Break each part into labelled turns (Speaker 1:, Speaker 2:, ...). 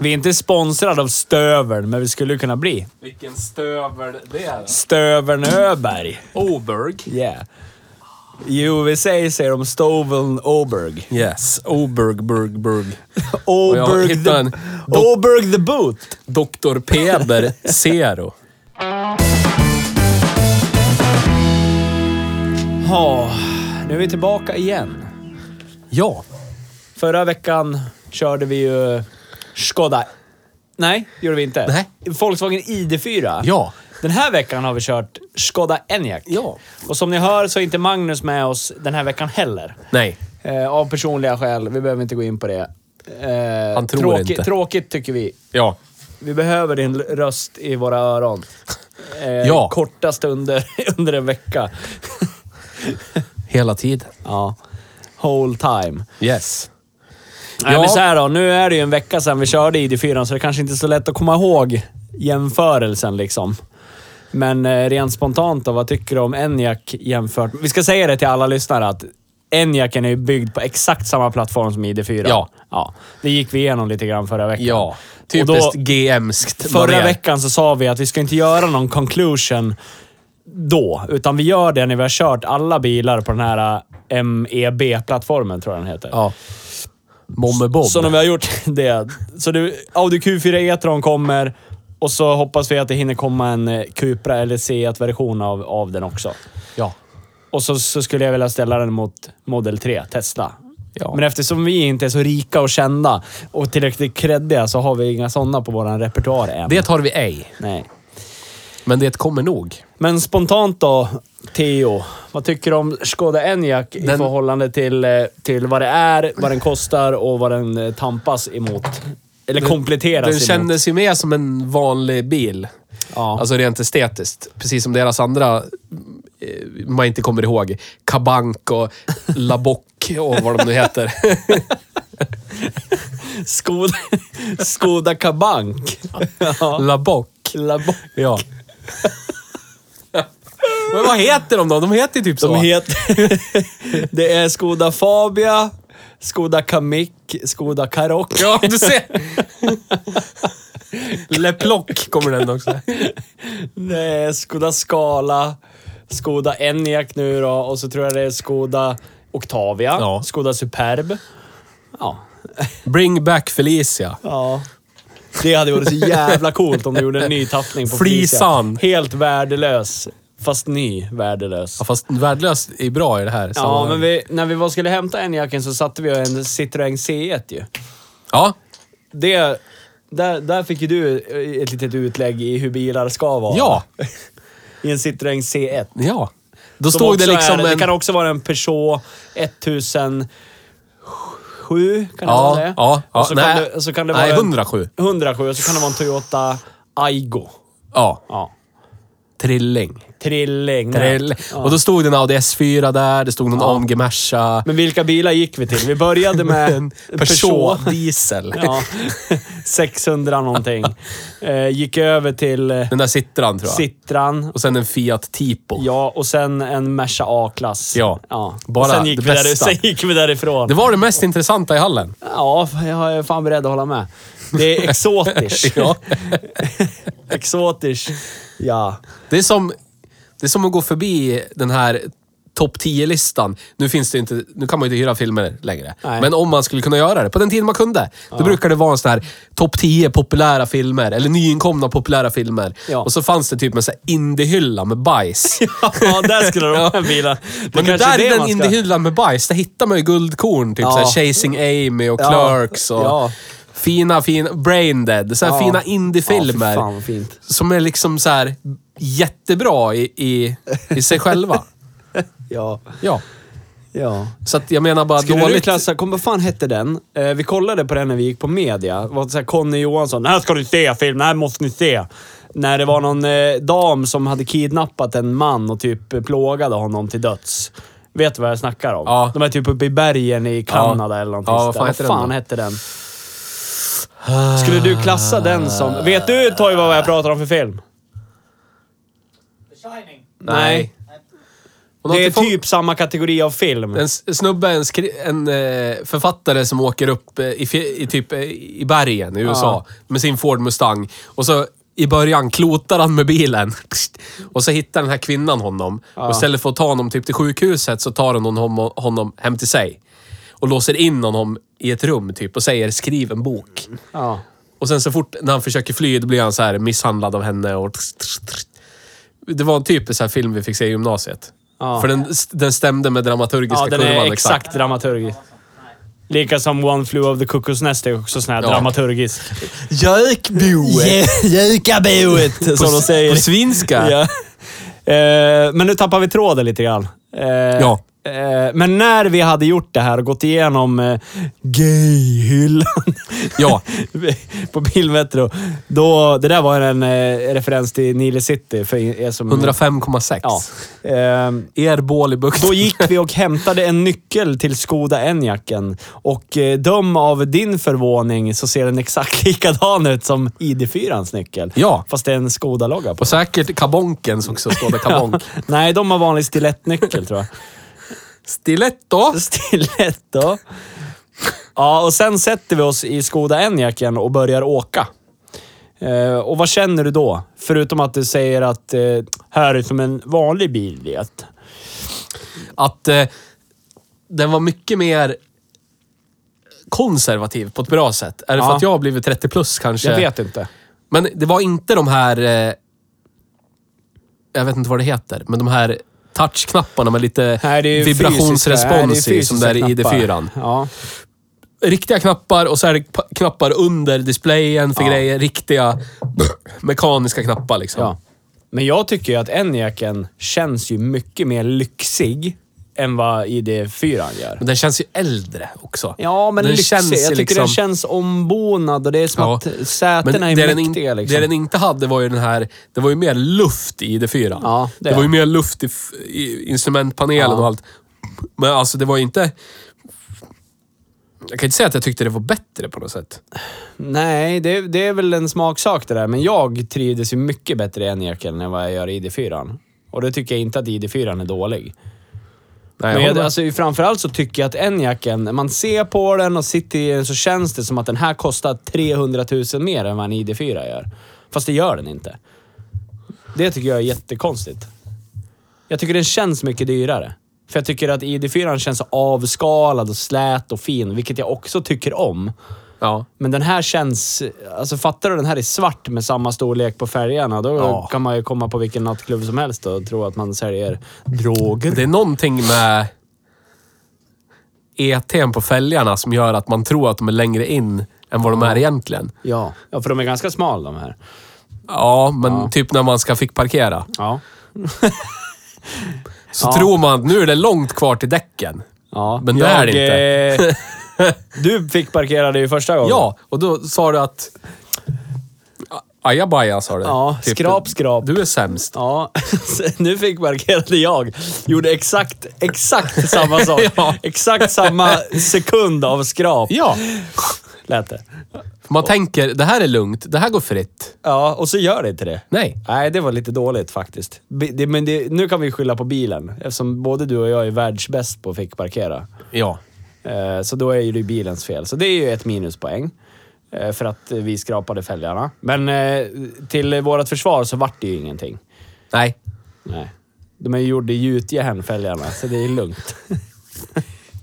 Speaker 1: Vi är inte sponsrade av Stövern, men vi skulle kunna bli.
Speaker 2: Vilken stövel det är.
Speaker 1: Stövern Öberg.
Speaker 2: Oberg.
Speaker 1: Yeah. I USA säger de Stoveln Oberg.
Speaker 2: Yes. Oberg, Burg, Burg. Och jag
Speaker 1: Oberg the,
Speaker 2: hittade en dock-
Speaker 1: Oberg the Boot.
Speaker 2: Dr. Peber Zero.
Speaker 1: Ja, nu är vi tillbaka igen.
Speaker 2: Ja.
Speaker 1: Förra veckan körde vi ju Skoda. Nej, gjorde vi inte.
Speaker 2: Nej.
Speaker 1: Volkswagen ID4.
Speaker 2: Ja.
Speaker 1: Den här veckan har vi kört Skoda Enyaq.
Speaker 2: Ja.
Speaker 1: Och som ni hör så är inte Magnus med oss den här veckan heller.
Speaker 2: Nej.
Speaker 1: Eh, av personliga skäl. Vi behöver inte gå in på det. Eh,
Speaker 2: Han tror
Speaker 1: tråki-
Speaker 2: inte.
Speaker 1: Tråkigt tycker vi.
Speaker 2: Ja.
Speaker 1: Vi behöver din l- röst i våra öron. Eh,
Speaker 2: Ja.
Speaker 1: Korta stunder under en vecka.
Speaker 2: Hela tiden.
Speaker 1: Ja. Whole time.
Speaker 2: Yes.
Speaker 1: Nej,
Speaker 2: Ja.
Speaker 1: men så här då, nu är det ju en vecka sedan vi körde ID4, så det kanske inte är så lätt att komma ihåg jämförelsen liksom. Men eh, rent spontant då, vad tycker du om Enyaq jämfört... Vi ska säga det till alla lyssnare att Enyaqen är ju byggd på exakt samma plattform som ID4.
Speaker 2: Ja.
Speaker 1: ja. Det gick vi igenom lite grann förra veckan.
Speaker 2: Ja.
Speaker 1: Och då-
Speaker 2: Typiskt GMskt. vad det
Speaker 1: Förra
Speaker 2: är.
Speaker 1: veckan så sa vi att vi ska inte göra någon conclusion då, utan vi gör det när vi har kört alla bilar på den här eh, MEB-plattformen, tror jag den heter.
Speaker 2: Ja. Mommebob.
Speaker 1: Så när vi har gjort det. Så det, Audi Q4 e-tron kommer och så hoppas vi att det hinner komma en eh, Cupra eller Seat-version av, av den också.
Speaker 2: Ja.
Speaker 1: Och så, så skulle jag vilja ställa den mot Model 3, Tesla.
Speaker 2: Ja.
Speaker 1: Men eftersom vi inte är så rika och kända och tillräckligt kreddiga så har vi inga sådana på vår repertoar än.
Speaker 2: Det tar vi ej.
Speaker 1: Nej.
Speaker 2: Men det kommer nog.
Speaker 1: Men spontant då, Theo. Vad tycker du om Skoda Enyaq i
Speaker 2: Den-
Speaker 1: förhållande till, eh, till vad det är, vad den kostar och vad den eh, tampas emot? Eller kompletteras
Speaker 2: Den
Speaker 1: emot.
Speaker 2: kändes ju mer som en vanlig bil.
Speaker 1: Ja.
Speaker 2: Alltså rent estetiskt. Precis som deras andra, eh, man inte kommer ihåg, Kabank och Labock och vad de nu heter.
Speaker 1: Skoda, Skoda Kabank. Ja.
Speaker 2: Labock.
Speaker 1: Labock.
Speaker 2: Ja. Men vad heter de då? De heter ju typ så.
Speaker 1: De heter... det är Skoda Fabia, Skoda Kamik, Skoda Karock.
Speaker 2: Ja, du ser. Leplock kommer den också.
Speaker 1: Det är Skoda Scala, Skoda Enyaq nu då och så tror jag det är Skoda Octavia,
Speaker 2: Ja.
Speaker 1: Skoda Superb. Ja.
Speaker 2: Bring back Felicia.
Speaker 1: ja. Det hade varit så jävla coolt om du gjorde en ny tappning på
Speaker 2: Flisan.
Speaker 1: Felicia. Helt värdelös. Fast ny värdelös.
Speaker 2: Ja, fast värdelös är bra i det här
Speaker 1: Ja,
Speaker 2: sammanhanget.
Speaker 1: men vi, när vi var skulle hämta Enyaqen så satte vi ju en Citroën C1 ju.
Speaker 2: Ja,
Speaker 1: Det, där, där fick ju du eh, ett litet utlägg i hur bilar ska vara.
Speaker 2: ja,
Speaker 1: I en Citroën C1.
Speaker 2: ja. Då
Speaker 1: Som
Speaker 2: stod det
Speaker 1: också
Speaker 2: liksom
Speaker 1: är,
Speaker 2: en...
Speaker 1: Det kan också vara en Peugeot 1007, kan det
Speaker 2: Ja,
Speaker 1: vara det?
Speaker 2: ja, ja.
Speaker 1: och så, kan
Speaker 2: Nej.
Speaker 1: det, så kan det vara
Speaker 2: Nej,
Speaker 1: en-
Speaker 2: 107.
Speaker 1: 107 och så kan det vara en Toyota Aygo.
Speaker 2: Ja,
Speaker 1: Ja.
Speaker 2: trilling.
Speaker 1: Trilling.
Speaker 2: Trill.
Speaker 1: Ja.
Speaker 2: Och då stod det en Audi S4 där, det stod någon AMG Merca.
Speaker 1: Men vilka bilar gick vi till? Vi började med
Speaker 2: En Peugeot diesel.
Speaker 1: Ja, 600 någonting. Eh, gick över till eh,
Speaker 2: Den där Citroen tror jag.
Speaker 1: Citran.
Speaker 2: Och sen en Fiat Tipo.
Speaker 1: Ja, och sen en Merca A-klass.
Speaker 2: Ja.
Speaker 1: ja.
Speaker 2: Bara
Speaker 1: och sen gick,
Speaker 2: det
Speaker 1: vi där,
Speaker 2: bästa.
Speaker 1: sen gick vi därifrån.
Speaker 2: Det var det mest intressanta i hallen.
Speaker 1: Ja, jag är fan beredd att hålla med. Det är exotiskt.
Speaker 2: Ja.
Speaker 1: exotiskt. Ja.
Speaker 2: Det är som, det är som att gå förbi den här topp 10-listan. Nu, finns det inte, nu kan man ju inte hyra filmer längre.
Speaker 1: Nej.
Speaker 2: Men om man skulle kunna göra det, på den tiden man kunde, då brukade det vara en sån här topp 10 populära filmer, eller nyinkomna populära filmer.
Speaker 1: Ja.
Speaker 2: Och så fanns det typ en sån här indiehylla med bajs.
Speaker 1: Ja, där skulle de här bilarna...
Speaker 2: Men det
Speaker 1: kanske
Speaker 2: där
Speaker 1: är
Speaker 2: i den
Speaker 1: man ska-
Speaker 2: indiehyllan med bajs, där hittar man ju guldkorn. Typ
Speaker 1: Ja.
Speaker 2: så här Chasing Amy och
Speaker 1: Ja.
Speaker 2: Clerks och
Speaker 1: Ja.
Speaker 2: fina, fina... Braindead. Så här
Speaker 1: Ja.
Speaker 2: fina
Speaker 1: Ja,
Speaker 2: indiefilmer.
Speaker 1: fy fan vad fint.
Speaker 2: som är liksom så här jättebra i, i, i sig själva.
Speaker 1: Ja.
Speaker 2: Ja.
Speaker 1: ja.
Speaker 2: Så att jag menar bara
Speaker 1: Skulle du
Speaker 2: dåligt...
Speaker 1: klassa, kom, vad fan hette den? Eh, vi kollade på den när vi gick på media. Det var så här Conny Johansson. Den här ska ni se film, den här måste ni se. När det var någon eh, dam som hade kidnappat en man och typ eh, plågade honom till döds. Vet du vad jag snackar om?
Speaker 2: Ja.
Speaker 1: De är typ uppe i bergen i Kanada eller någonting.
Speaker 2: Ja,
Speaker 1: sånt
Speaker 2: vad
Speaker 1: där.
Speaker 2: fan
Speaker 1: vad
Speaker 2: heter den
Speaker 1: fan
Speaker 2: då?
Speaker 1: hette den? Skulle du klassa den som... Vet du Toivo vad jag pratar om för film?
Speaker 3: The Shining.
Speaker 2: Nej. Hon har
Speaker 1: Det är
Speaker 2: inte fått-
Speaker 1: typ samma kategori av film.
Speaker 2: En s- snubbe, en, skri... en eh, författare som åker upp eh, i, fj- i, typ, eh, i bergen i USA med sin Ford Mustang. Och så i början klotar han med bilen. Och så hittar den här kvinnan honom. Och istället för att ta honom typ till sjukhuset så tar hon honom, honom hem till sig. Och låser in honom i ett rum typ och säger skriv en bok.
Speaker 1: Ja.
Speaker 2: Och sen så fort när han försöker fly, då blir han så här misshandlad av henne och... Det var en typisk så här film vi fick se i gymnasiet.
Speaker 1: Ja.
Speaker 2: För den, den stämde med dramaturgiska
Speaker 1: Ja, den
Speaker 2: kurvan
Speaker 1: är exakt, dramaturgisk. Lika som One Flew of the Cuckoo's Nest är också sån här
Speaker 2: Ja.
Speaker 1: dramaturgisk.
Speaker 2: Jökboet!
Speaker 1: Jökaboet, som de säger.
Speaker 2: På svenska.
Speaker 1: Ja. Eh, men nu tappar vi tråden lite grann. Eh,
Speaker 2: Ja.
Speaker 1: eh, men när vi hade gjort det här och gått igenom eh, gayhyllan
Speaker 2: Ja.
Speaker 1: på Bilmetro. Då, det där var en eh, referens till Nile City för er som...
Speaker 2: 105,6.
Speaker 1: Ja. Ehm,
Speaker 2: Er bål i bukten.
Speaker 1: Då gick vi och hämtade en nyckel till Skoda Enyaqen. Och eh, döm av din förvåning så ser den exakt likadan ut som ID4ans nyckel.
Speaker 2: Ja.
Speaker 1: Fast det är en Skoda-logga på.
Speaker 2: Och säkert kabonkens också, står det kabonk.
Speaker 1: Nej, de har vanlig stilettnyckel tror jag.
Speaker 2: Stiletto!
Speaker 1: Stilett då. Ja, och sen sätter vi oss i Skoda Enyaqen och börjar åka. Eh, och vad känner du då? Förutom att du säger att eh, här är som en vanlig bil vet.
Speaker 2: Att eh, den var mycket mer konservativ på ett bra sätt. Är det
Speaker 1: Ja.
Speaker 2: för att jag har blivit 30 plus kanske?
Speaker 1: Jag vet inte.
Speaker 2: Men det var inte de här... Eh, jag vet inte vad det heter, men de här touchknapparna med lite
Speaker 1: Nej, det är ju fysiska- nej, det är
Speaker 2: vibrationsrespons i, som
Speaker 1: fysiska
Speaker 2: där i
Speaker 1: knappar.
Speaker 2: ID4.
Speaker 1: Ja.
Speaker 2: Riktiga knappar och så är det pa- knappar under displayen för
Speaker 1: Ja.
Speaker 2: grejer. Riktiga mekaniska knappar liksom.
Speaker 1: Ja. Men jag tycker ju att Enyaqen känns ju mycket mer lyxig än vad ID4 gör.
Speaker 2: Men den känns ju äldre också.
Speaker 1: Ja, men
Speaker 2: den
Speaker 1: lyxig.
Speaker 2: känns ju
Speaker 1: jag tycker den
Speaker 2: liksom-
Speaker 1: känns ombonad och det är som
Speaker 2: Ja.
Speaker 1: att
Speaker 2: Men
Speaker 1: sätena är
Speaker 2: det den
Speaker 1: mäktiga.
Speaker 2: in-
Speaker 1: liksom.
Speaker 2: Det den inte hade var ju den här... Det var ju mer luft i ID4.
Speaker 1: Ja, det
Speaker 2: det, var
Speaker 1: är.
Speaker 2: ju mer luft i, f- i instrumentpanelen
Speaker 1: Ja.
Speaker 2: och allt. Men alltså det var ju inte... Jag kan inte säga att jag tyckte det var bättre på något sätt.
Speaker 1: Nej, det, det är väl en smaksak det där. Men jag trivdes ju mycket bättre i Enyaqen än vad jag gör i ID4. Och det tycker jag inte att ID4 är dålig.
Speaker 2: Nej,
Speaker 1: Men
Speaker 2: jag
Speaker 1: jag,
Speaker 2: håller med.
Speaker 1: alltså, framförallt så tycker jag att Enyaqen, när man ser på den och sitter i den så känns det som att den här kostar 300 000 mer än vad en ID4 gör. Fast det gör den inte. Det tycker jag är jättekonstigt. Jag tycker den känns mycket dyrare. För jag tycker att ID4 känns så avskalad och slät och fin, vilket jag också tycker om.
Speaker 2: ja.
Speaker 1: Men den här känns... Alltså fattar du? Den här är svart med samma storlek på färgerna. Då
Speaker 2: Ja.
Speaker 1: kan man ju komma på vilken nattklubb som helst och tro att man säljer droger.
Speaker 2: Det är någonting med ET'n på fälgarna som gör att man tror att de är längre in än vad de är egentligen.
Speaker 1: Ja. ja, för de är ganska smal de här.
Speaker 2: Ja, men typ när man ska fick parkera.
Speaker 1: Ja.
Speaker 2: Så
Speaker 1: Ja.
Speaker 2: tror man att nu är det långt kvar till däcken.
Speaker 1: ja.
Speaker 2: Men det är det
Speaker 1: inte. du fick parkera dig första gången.
Speaker 2: Ja, och då sa du att... Ajabaja sa du.
Speaker 1: Ja, skrap, skrap.
Speaker 2: Du är sämst.
Speaker 1: Typ. Ja, nu fick parkerade jag. Gjorde exakt, exakt samma sak.
Speaker 2: Ja.
Speaker 1: Exakt samma sekund av skrap,
Speaker 2: Ja.
Speaker 1: lät det.
Speaker 2: Man tänker, det här är lugnt. Det här går fritt.
Speaker 1: Ja, och så gör det inte det.
Speaker 2: Nej.
Speaker 1: Nej, det var lite dåligt faktiskt. Bi- Det, men det, nu kan vi skylla på bilen, eftersom både du och jag är världsbäst på att fick parkera.
Speaker 2: Ja.
Speaker 1: Eh, Så då är ju det bilens fel. Så det är ju ett minuspoäng. eh, För att eh, vi skrapade fälgarna. Men eh, till vårt försvar så vart det ju ingenting.
Speaker 2: Nej.
Speaker 1: Nej. De är ju gjorda i gjutjärn, fälgarna, så det är lugnt.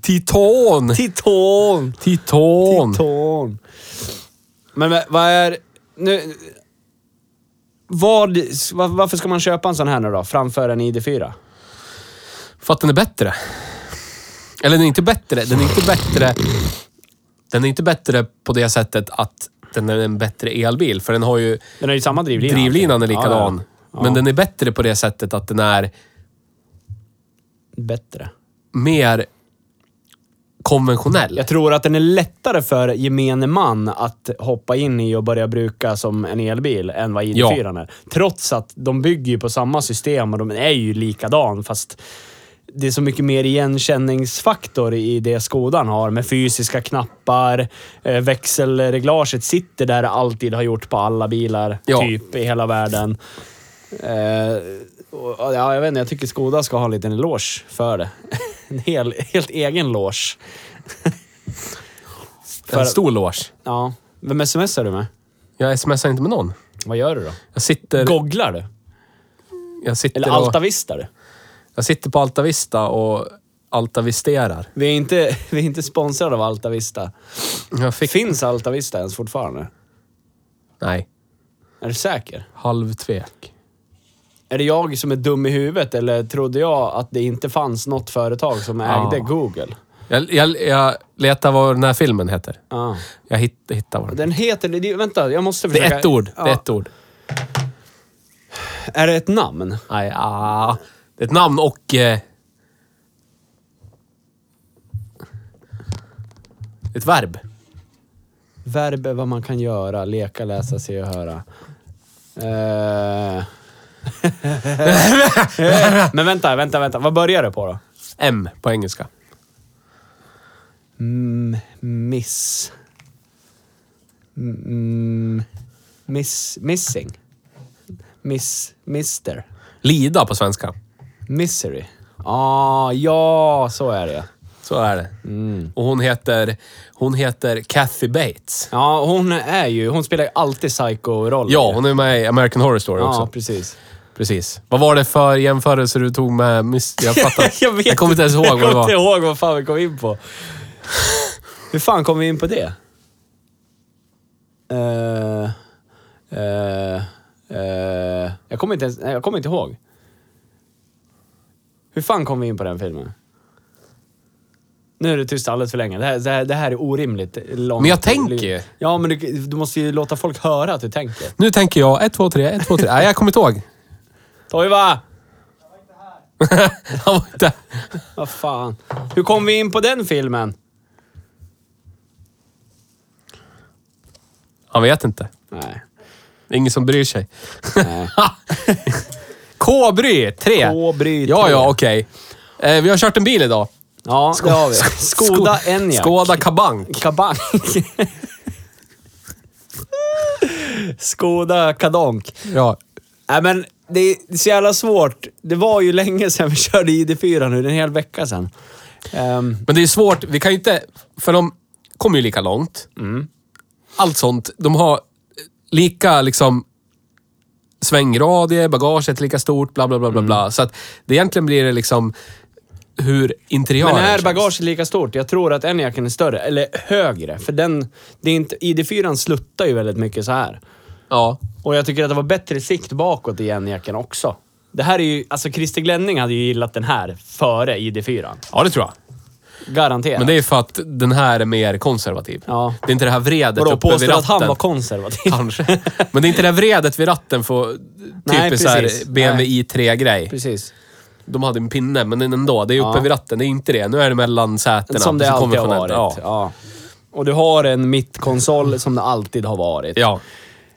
Speaker 2: Titan!
Speaker 1: Titon!
Speaker 2: Titan!
Speaker 1: Titon! Men va- vad är... Nu, vad, va- varför ska man köpa en sån här nu då, framför en ID4?
Speaker 2: För att den är bättre. Eller den är inte bättre. Den är inte bättre. Den är inte bättre på det sättet att den är en bättre elbil. För den har ju...
Speaker 1: Den har ju samma drivlina. alltså.
Speaker 2: Drivlinan är
Speaker 1: Ja, typ. ja.
Speaker 2: likadan. Men den är bättre på det sättet att den är
Speaker 1: Bättre.
Speaker 2: mer konventionell.
Speaker 1: Jag tror att den är lättare för gemene man att hoppa in i och börja bruka som en elbil än vad ID4 är. Trots att de bygger ju på samma system och de är ju likadan fast det är så mycket mer igenkänningsfaktor i det Skodan har med fysiska knappar, eh, växelreglaget sitter där det alltid har gjort på alla bilar,
Speaker 2: Ja.
Speaker 1: typ i hela världen. Eh, och, och, ja, jag vet inte, jag tycker Skoda ska ha en liten eloge för det. En hel, helt egen loge.
Speaker 2: En stor loge.
Speaker 1: Ja. Vem smsar du med?
Speaker 2: Jag smsar inte med någon.
Speaker 1: Vad gör du då?
Speaker 2: Jag sitter,
Speaker 1: Googlar du?
Speaker 2: jag
Speaker 1: Eller
Speaker 2: sitter, och,
Speaker 1: altavistar du?
Speaker 2: jag sitter på Altavista och altavisterar.
Speaker 1: Vi är inte, vi är inte sponsrade av Altavista.
Speaker 2: Jag fick...
Speaker 1: Finns Altavista ens fortfarande?
Speaker 2: Nej.
Speaker 1: Är du säker?
Speaker 2: Halvtvek.
Speaker 1: Är det jag som är dum i huvudet eller trodde jag att det inte fanns något företag som ägde
Speaker 2: Ja.
Speaker 1: Google?
Speaker 2: Jag, jag, jag letar vad den här filmen heter.
Speaker 1: Ja.
Speaker 2: Jag hitt, hittar vad den
Speaker 1: Den heter... det- Vänta, jag måste
Speaker 2: Det
Speaker 1: försöka...
Speaker 2: är ett ord. Det
Speaker 1: Ja.
Speaker 2: är ett ord.
Speaker 1: Är det ett namn?
Speaker 2: Nej, ah. Det är ett namn och... Eh, ett verb.
Speaker 1: Verb är vad man kan göra, leka, läsa, se och höra. Eh. Men vänta, vänta, vänta. Vad börjar det på då?
Speaker 2: M på engelska.
Speaker 1: Mm, miss... Mm, miss... Missing? Miss... Mister?
Speaker 2: Lida på svenska.
Speaker 1: Misery? Ah, ja, så är det.
Speaker 2: Så är det. Och hon heter... Hon heter Kathy Bates.
Speaker 1: Ja, hon är ju... Hon spelar ju alltid psycho-roller.
Speaker 2: Ja, hon är med i American Horror Story
Speaker 1: Ja,
Speaker 2: också.
Speaker 1: precis.
Speaker 2: Precis. Vad var det för jämförelse du tog med... Miss... Jag fattar.
Speaker 1: Jag vet
Speaker 2: kommer inte ens ihåg
Speaker 1: jag
Speaker 2: vad det
Speaker 1: kommer inte
Speaker 2: var.
Speaker 1: ihåg vad fan vi kom in på. Hur fan kom vi in på det? Eh, eh, eh, jag, kommer inte ens, nej, jag kommer inte ihåg. Hur fan kom vi in på den filmen? Nu är det tyst alldeles för länge. Det här, det här, det här är orimligt långt.
Speaker 2: Men jag tänker ju.
Speaker 1: Ja, men du, du måste ju låta folk höra att du tänker.
Speaker 2: Nu tänker jag ett, två, tre, ett, två, tre. Nej, jag kommer inte ihåg.
Speaker 1: Toiva!
Speaker 2: Han var inte...
Speaker 1: Vad fan. Hur kom vi in på den filmen?
Speaker 2: Han vet inte.
Speaker 1: Nej.
Speaker 2: Det är ingen som bryr sig.
Speaker 1: nej.
Speaker 2: K-bry 3.
Speaker 1: K-bry
Speaker 2: Ja,
Speaker 1: tre.
Speaker 2: ja, okej. Eh, vi har kört en bil idag.
Speaker 1: Ja, det har vi. Skoda Enyaq.
Speaker 2: Skoda Kabank.
Speaker 1: Kabank. Skoda Kadonk.
Speaker 2: Ja.
Speaker 1: Nej, men det är så jävla svårt. Det var ju länge sedan vi körde ID4 nu. Det är en hel vecka sedan. Ehm,
Speaker 2: Men det är svårt. Vi kan ju inte... För de kommer ju lika långt.
Speaker 1: Mm.
Speaker 2: Allt sånt. De har lika liksom svängradie, bagaget lika stort, bla bla bla bla.
Speaker 1: Mm.
Speaker 2: bla. Så att det egentligen blir det liksom hur interiören
Speaker 1: men är
Speaker 2: känns.
Speaker 1: bagaget lika stort? Jag tror att Enyaqen är större, eller högre. För den, det är inte, ID4 sluttar ju väldigt mycket så här.
Speaker 2: Ja.
Speaker 1: Och jag tycker att det var bättre sikt bakåt i Enyaqen också. Det här är ju, alltså Christer Glenning hade ju gillat den här före ID4.
Speaker 2: ja, det tror jag.
Speaker 1: Garanterat.
Speaker 2: Men det är för att den här är mer konservativ.
Speaker 1: Ja.
Speaker 2: Det är inte det här vredet
Speaker 1: Vadå,
Speaker 2: uppe vid
Speaker 1: påstår
Speaker 2: ratten.
Speaker 1: att han var konservativ?
Speaker 2: Kanske. Men det är inte det här vredet vid ratten för
Speaker 1: Nej,
Speaker 2: typiskt såhär
Speaker 1: precis.
Speaker 2: BMW i3-grej.
Speaker 1: Precis.
Speaker 2: De hade en pinne, men ändå. Det är uppe
Speaker 1: Ja.
Speaker 2: vid ratten. Det är inte det. Nu är det mellan sätena.
Speaker 1: Som det
Speaker 2: Så
Speaker 1: alltid har
Speaker 2: konventionellt.
Speaker 1: varit. Ja.
Speaker 2: Ja.
Speaker 1: Och du har en mittkonsol som det alltid har varit.
Speaker 2: Ja.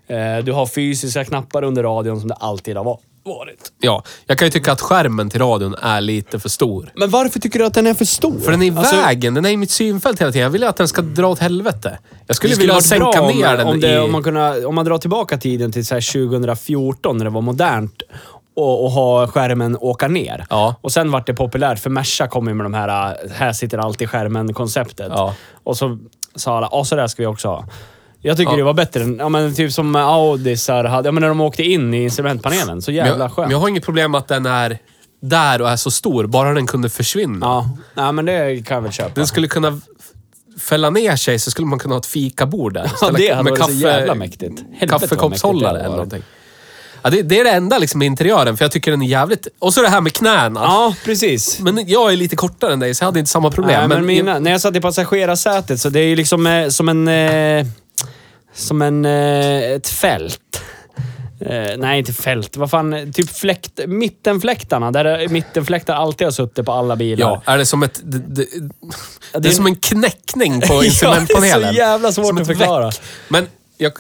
Speaker 1: Eh, Du har fysiska knappar under radion som det alltid har va- varit.
Speaker 2: ja. Jag kan ju tycka att skärmen till radion är lite för stor.
Speaker 1: Men varför tycker du att den är för stor?
Speaker 2: För den är i
Speaker 1: Alltså,
Speaker 2: vägen. Den är i mitt synfält hela tiden. Jag vill ju att den ska dra åt helvete. Jag skulle,
Speaker 1: Det skulle
Speaker 2: vilja
Speaker 1: varit
Speaker 2: sänka
Speaker 1: bra om,
Speaker 2: ner den
Speaker 1: om, det,
Speaker 2: i...
Speaker 1: om, man kunna, om man drar tillbaka tiden till så här 2014 när det var modernt och, och ha skärmen åka ner.
Speaker 2: Ja.
Speaker 1: Och sen vart det populärt, för Merca kom ju med de här äh, “här sitter alltid skärmen”-konceptet.
Speaker 2: Ja.
Speaker 1: Och så sa alla “ja, så där ska vi också ha”. Jag tycker
Speaker 2: Ja.
Speaker 1: det var bättre än, ja men typ som Audisar hade, ja men när de åkte in i instrumentpanelen. Så
Speaker 2: Men
Speaker 1: jävla
Speaker 2: jag, men
Speaker 1: skönt.
Speaker 2: jag har inget problem med att den är där och är så stor. Bara den kunde försvinna.
Speaker 1: Ja, nej, men det kan jag väl köpa.
Speaker 2: Den skulle kunna f- fälla ner sig så skulle man kunna ha ett fikabord där.
Speaker 1: Ja, det hade
Speaker 2: med
Speaker 1: varit så jävla mäktigt. Helvete vad mäktigt det
Speaker 2: Kaffekoppshållare
Speaker 1: hade
Speaker 2: eller
Speaker 1: varit.
Speaker 2: någonting. Ja, det, det är det enda liksom med interiören, för jag tycker den är jävligt... Och så det här med knäna.
Speaker 1: Ja, precis.
Speaker 2: Men jag är lite kortare än dig, så jag hade inte samma
Speaker 1: Nej,
Speaker 2: problem.
Speaker 1: men mina, när jag satt i passagerarsätet så det är ju liksom eh, som en... Eh, som en... Eh, ett fält. Eh, nej, inte fält. Vad fan? Typ fläkt, mittenfläktarna. Där är- mittenfläktar alltid har suttit på alla bilar.
Speaker 2: Ja, är det som ett... Det, det, det,
Speaker 1: det
Speaker 2: är
Speaker 1: är-
Speaker 2: som en knäckning
Speaker 1: Ja,
Speaker 2: på
Speaker 1: det är
Speaker 2: instrumentpanelen.
Speaker 1: så jävla svårt
Speaker 2: Som
Speaker 1: att
Speaker 2: ett
Speaker 1: förklara.
Speaker 2: väck. Men jag,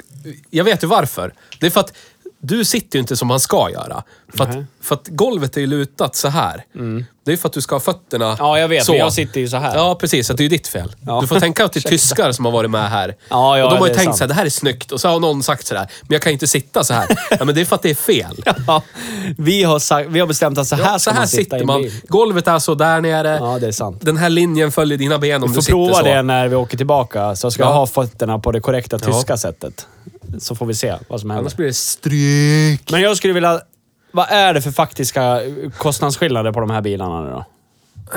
Speaker 2: jag vet ju varför. Det är för att du sitter ju inte som man ska göra. För att,
Speaker 1: Nej. Mm.
Speaker 2: för att golvet är ju lutat så här. Det är ju för att du ska ha fötterna
Speaker 1: Ja, jag vet, men jag sitter ju så här.
Speaker 2: Ja, precis. Så det är ju ditt fel.
Speaker 1: Ja.
Speaker 2: Du får tänka att det är tyskar som har varit med här.
Speaker 1: Ja, ja,
Speaker 2: och de har ju
Speaker 1: det är
Speaker 2: tänkt
Speaker 1: sant.
Speaker 2: så här, det här är snyggt. Och så har någon sagt så här, men jag kan ju inte sitta så här. ja, men det är för att det är fel.
Speaker 1: Ja, vi, har sagt, vi har bestämt att så här
Speaker 2: Ja,
Speaker 1: ska
Speaker 2: så här
Speaker 1: man sitta
Speaker 2: sitter
Speaker 1: i
Speaker 2: man.
Speaker 1: en bil.
Speaker 2: Golvet är så där nere.
Speaker 1: Ja, det är sant.
Speaker 2: Den här linjen följer dina ben
Speaker 1: Vi
Speaker 2: om du
Speaker 1: får
Speaker 2: sitter så.
Speaker 1: prova det när vi åker tillbaka, så ska
Speaker 2: Ja.
Speaker 1: jag ha fötterna på det korrekta
Speaker 2: Ja.
Speaker 1: tyska sättet. Så får vi se vad som händer.
Speaker 2: Annars blir det stryk.
Speaker 1: Men jag skulle vilja... Vad är det för faktiska kostnadsskillnader på de här bilarna nu då?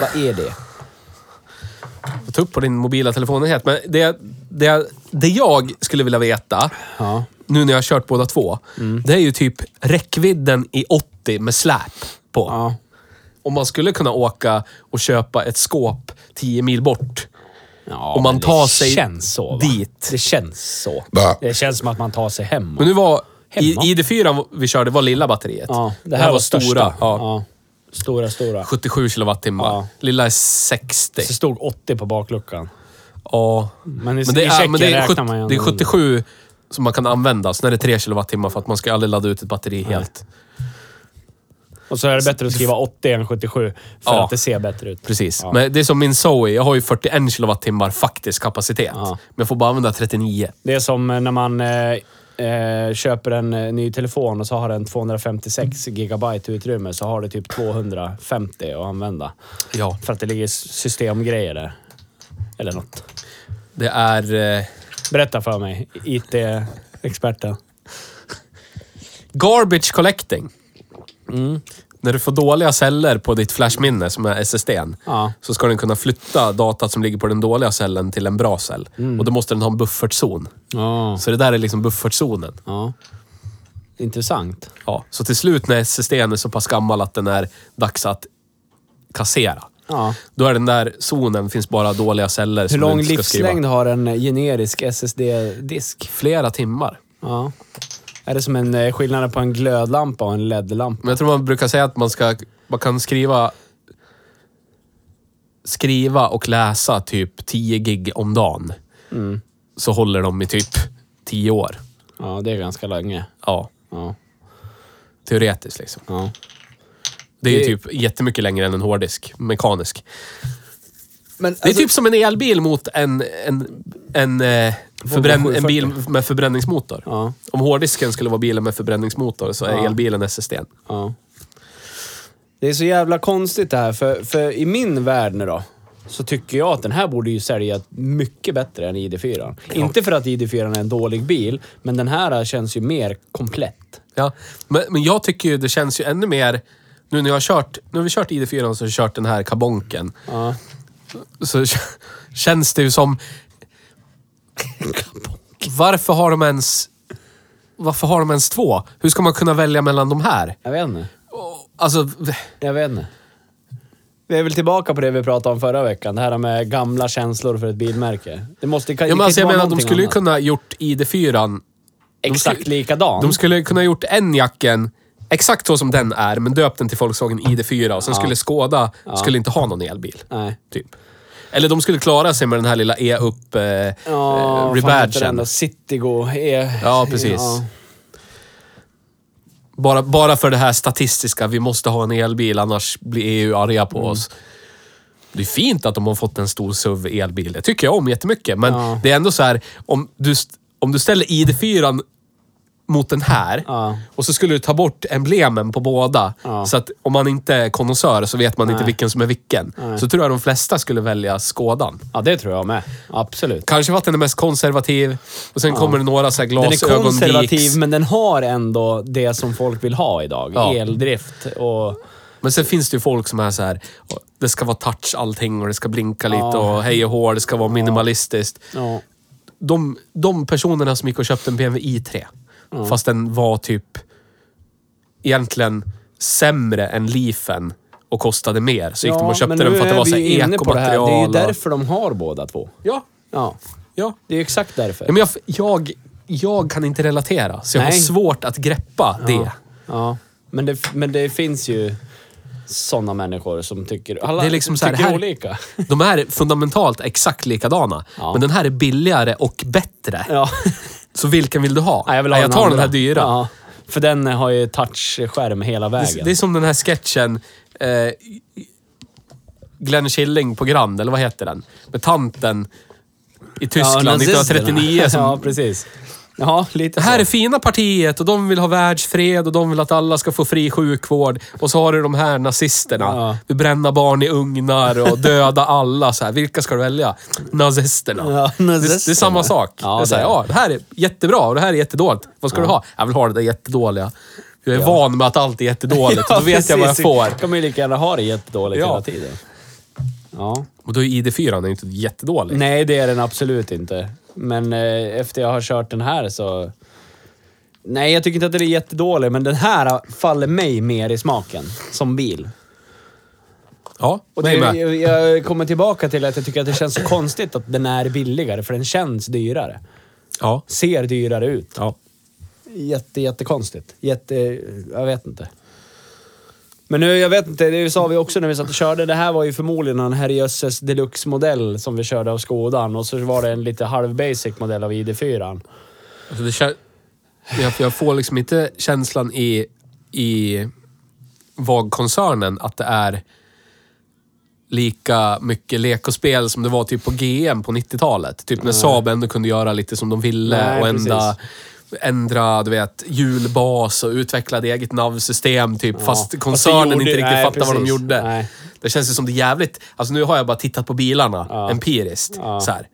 Speaker 1: Vad är det?
Speaker 2: Jag tar upp på din mobila telefon helt. Men det, det, det jag skulle vilja veta,
Speaker 1: Ja. Mm.
Speaker 2: nu när jag har kört båda två, det är ju typ räckvidden i 80 med släp på.
Speaker 1: Ja.
Speaker 2: Om man skulle kunna åka och köpa ett skåp 10 mil bort.
Speaker 1: ja
Speaker 2: Om man
Speaker 1: men det
Speaker 2: tar sig
Speaker 1: känns så, va?
Speaker 2: dit.
Speaker 1: Det känns så.
Speaker 4: Bä.
Speaker 1: Det känns som att man tar sig hem.
Speaker 2: Men nu var... I,
Speaker 1: Hemma.
Speaker 2: I det fyra vi körde var lilla batteriet.
Speaker 1: ja, det, här var, största.
Speaker 2: stora. Ja.
Speaker 1: Ja. Stora, stora.
Speaker 2: 77 kilowattimmar.
Speaker 1: Ja.
Speaker 2: Lilla är 60.
Speaker 1: Det stod 80 på bakluckan.
Speaker 2: Ja.
Speaker 1: Men i- i
Speaker 2: är-
Speaker 1: Tjeckien
Speaker 2: men det är,
Speaker 1: räknar man ju
Speaker 2: det är
Speaker 1: ändå.
Speaker 2: 77 som man kan använda. Sen är det 3 kilowattimmar för att man ska aldrig ladda ut ett batteri helt.
Speaker 1: Och så är det bättre att skriva 80 än 77 för
Speaker 2: Ja.
Speaker 1: att det ser bättre ut.
Speaker 2: Precis.
Speaker 1: Ja.
Speaker 2: Men det är som min Zoe. Jag har ju 41 kilowattimmar faktisk kapacitet.
Speaker 1: Ja.
Speaker 2: Men jag får bara använda 39.
Speaker 1: Det är som när man eh, eh, köper en eh, ny telefon och så har den 256 gigabyte utrymme så har du typ 250 att använda.
Speaker 2: Ja.
Speaker 1: För att det ligger s- systemgrejer där. Eller något.
Speaker 2: Det är... Eh,
Speaker 1: Berätta för mig, IT-experten.
Speaker 2: garbage collecting.
Speaker 1: Mm.
Speaker 2: När du får dåliga celler på ditt flashminne, som är SSDn,
Speaker 1: Ja.
Speaker 2: så ska den kunna flytta datat som ligger på den dåliga cellen till en bra cell.
Speaker 1: Mm.
Speaker 2: Och då måste den ha en buffertzon.
Speaker 1: Ja.
Speaker 2: Så det där är liksom buffertzonen.
Speaker 1: ja. Intressant.
Speaker 2: Ja, så till slut när SSDn är så pass gammal att den är dags att kassera.
Speaker 1: Ja.
Speaker 2: Då är den där zonen, finns bara dåliga celler
Speaker 1: Hur
Speaker 2: som
Speaker 1: lång
Speaker 2: du inte ska skriva.
Speaker 1: livslängd har en eh, generisk SSD-disk?
Speaker 2: Flera timmar.
Speaker 1: Ja. Är det som en eh, skillnad på en glödlampa och en LED-lampa?
Speaker 2: Men jag tror man brukar säga att man, ska, man kan skriva skriva och läsa typ 10 gig om dagen.
Speaker 1: Mm.
Speaker 2: Så håller de i typ 10 år.
Speaker 1: Ja, det är ganska länge.
Speaker 2: Ja,
Speaker 1: Ja.
Speaker 2: teoretiskt liksom.
Speaker 1: ja.
Speaker 2: Det är ju
Speaker 1: Det-
Speaker 2: typ jättemycket längre än en hårddisk, mekanisk.
Speaker 1: Men,
Speaker 2: Det är typ som en elbil mot en, en, en, eh, förbränn, en bil med förbränningsmotor.
Speaker 1: Ja.
Speaker 2: Om hårddisken skulle vara bilen med förbränningsmotor så är
Speaker 1: Ja.
Speaker 2: elbilen SSD.
Speaker 1: Ja. Det är så jävla konstigt det här, för, för i min värld nu då, så tycker jag att den här borde ju sälja mycket bättre än ID4. Inte för att ID4 är en dålig bil, men den här känns ju mer komplett.
Speaker 2: Ja. Men, men jag tycker ju det känns ju ännu mer... Nu när jag har kört... Nu har vi kört ID4 och så har vi kört den här kabonken.
Speaker 1: Ja.
Speaker 2: Så k- känns det ju som... Varför har de ens... Varför har de ens två? Hur ska man kunna välja mellan de här?
Speaker 1: Jag vet inte.
Speaker 2: Alltså... v-
Speaker 1: Jag vet inte. Vi är väl tillbaka på det vi pratade om förra veckan. Det här med gamla känslor för ett bilmärke. Det måste det kan,
Speaker 2: Ja, men
Speaker 1: det
Speaker 2: alltså
Speaker 1: kan
Speaker 2: jag
Speaker 1: inte
Speaker 2: menar,
Speaker 1: vara
Speaker 2: de
Speaker 1: någonting
Speaker 2: skulle ju
Speaker 1: annat.
Speaker 2: kunna gjort ID4
Speaker 1: Exakt likadan.
Speaker 2: De skulle kunna gjort en jacken exakt så som den är, men döpt den till Volkswagen ID4 och sen skulle Skoda skulle inte ha någon elbil.
Speaker 1: Nej.
Speaker 2: Typ. Eller de skulle klara sig med den här lilla E-upp eh,
Speaker 1: Ja,
Speaker 2: eh,
Speaker 1: vad fan heter den
Speaker 2: rebadgen.
Speaker 1: då? Citigo. E-
Speaker 2: Ja, precis.
Speaker 1: Ja.
Speaker 2: Bara, bara för det här statistiska, vi måste ha en elbil annars blir EU arga på
Speaker 1: Mm.
Speaker 2: oss. Det är fint att de har fått en stor SUV elbil. Det tycker jag om jättemycket. Men
Speaker 1: Ja.
Speaker 2: det är ändå så här, om du, st- om du ställer ID4 mot den här
Speaker 1: Ja.
Speaker 2: och så skulle du ta bort emblemen på båda.
Speaker 1: Ja.
Speaker 2: Så att om man inte är konnässör så vet man inte
Speaker 1: Nej.
Speaker 2: vilken som är vilken. Så tror jag de flesta skulle välja skådan.
Speaker 1: ja, det tror jag med. Absolut.
Speaker 2: Kanske för att den är mest konservativ och sen kommer det några så här
Speaker 1: Den
Speaker 2: glasögonviks.
Speaker 1: är konservativ, men den har ändå det som folk vill ha idag.
Speaker 2: Ja.
Speaker 1: Eldrift och
Speaker 2: Men sen finns det ju folk som är så här. Det ska vara touch allting och det ska blinka lite
Speaker 1: Ja.
Speaker 2: och hej och hå, det ska vara minimalistiskt.
Speaker 1: Ja.
Speaker 2: De, de personerna som gick och köpte en BMW i3, fast den var typ egentligen sämre än Leafen och kostade mer. Så gick de och köpte den för att det var så här
Speaker 1: inne på det här. Det är ju
Speaker 2: ekomaterial. och-
Speaker 1: därför de har båda två.
Speaker 2: Ja,
Speaker 1: Ja,
Speaker 2: ja.
Speaker 1: det är ju exakt därför.
Speaker 2: Ja, men jag, jag, jag kan inte relatera, så jag har
Speaker 1: Nej.
Speaker 2: svårt att greppa det.
Speaker 1: Ja, men det, men det finns ju sådana människor som tycker... Alla
Speaker 2: Det är liksom så här,
Speaker 1: tycker
Speaker 2: här-
Speaker 1: olika.
Speaker 2: De är fundamentalt exakt likadana,
Speaker 1: Ja.
Speaker 2: men den här är billigare och bättre.
Speaker 1: Ja.
Speaker 2: Så vilken vill du ha?
Speaker 1: Ja, jag vill ha
Speaker 2: Nej, jag tar den
Speaker 1: andra.
Speaker 2: här dyra.
Speaker 1: Ja, för den har ju touchskärm hela vägen.
Speaker 2: Det är som den här sketchen eh, Glenn Killing på Grand, eller vad heter den? Med tanten i Tyskland
Speaker 1: nazisterna.
Speaker 2: 1939 som
Speaker 1: Ja, precis. Ja, lite
Speaker 2: Det här
Speaker 1: så.
Speaker 2: är fina partiet och de vill ha världsfred och de vill att alla ska få fri sjukvård. Och så har du de här nazisterna.
Speaker 1: Ja.
Speaker 2: Vill bränna barn i ugnar och döda alla. Så här. Vilka ska du välja? Nazisterna.
Speaker 1: Ja,
Speaker 2: Det, det är
Speaker 1: nazisterna.
Speaker 2: samma sak.
Speaker 1: Ja,
Speaker 2: det, är så här,
Speaker 1: det är
Speaker 2: ja, det här är jättebra och det här är jättedåligt. Vad ska du ha? Jag vill ha det där jättedåliga. Jag är van med att allt är jättedåligt. och då vet jag vad jag
Speaker 1: precis.
Speaker 2: får.
Speaker 1: kan man ju lika gärna ha det jättedåligt
Speaker 2: Ja.
Speaker 1: hela tiden. Ja.
Speaker 2: Och då är ID4 inte jättedålig.
Speaker 1: Nej, det är den absolut inte. Men eh, efter jag har kört den här så... Nej, jag tycker inte att den är jättedålig, men den här faller mig mer i smaken som bil.
Speaker 2: Ja,
Speaker 1: Och det,
Speaker 2: mig med.
Speaker 1: jag, jag kommer tillbaka till att jag tycker att det känns så konstigt att den är billigare, för den känns dyrare.
Speaker 2: Ja.
Speaker 1: Ser dyrare ut.
Speaker 2: Ja.
Speaker 1: Jätte, jättekonstigt. Jätte... Jag vet inte. Men nu, jag vet inte, det sa vi också när vi satt och körde. Det här var ju förmodligen en herrejösses deluxe-modell som vi körde av Skodan och så var det en lite halv-basic modell av ID4.
Speaker 2: Alltså det kän- jag, jag får liksom inte känslan i, i VAG-koncernen att det är lika mycket lek och spel som det var typ på GM på 90-talet. Typ när Saab ändå kunde göra lite som de ville
Speaker 1: Nej,
Speaker 2: och ändra, ändra du vet, hjulbas och utveckla ett eget navsystem typ.
Speaker 1: Fast det
Speaker 2: Fast koncernen
Speaker 1: gjorde-
Speaker 2: inte riktigt
Speaker 1: nej,
Speaker 2: fattade vad de
Speaker 1: precis.
Speaker 2: gjorde.
Speaker 1: Nej.
Speaker 2: Det känns ju som det är jävligt... Alltså nu har jag bara tittat på bilarna empiriskt. Så här.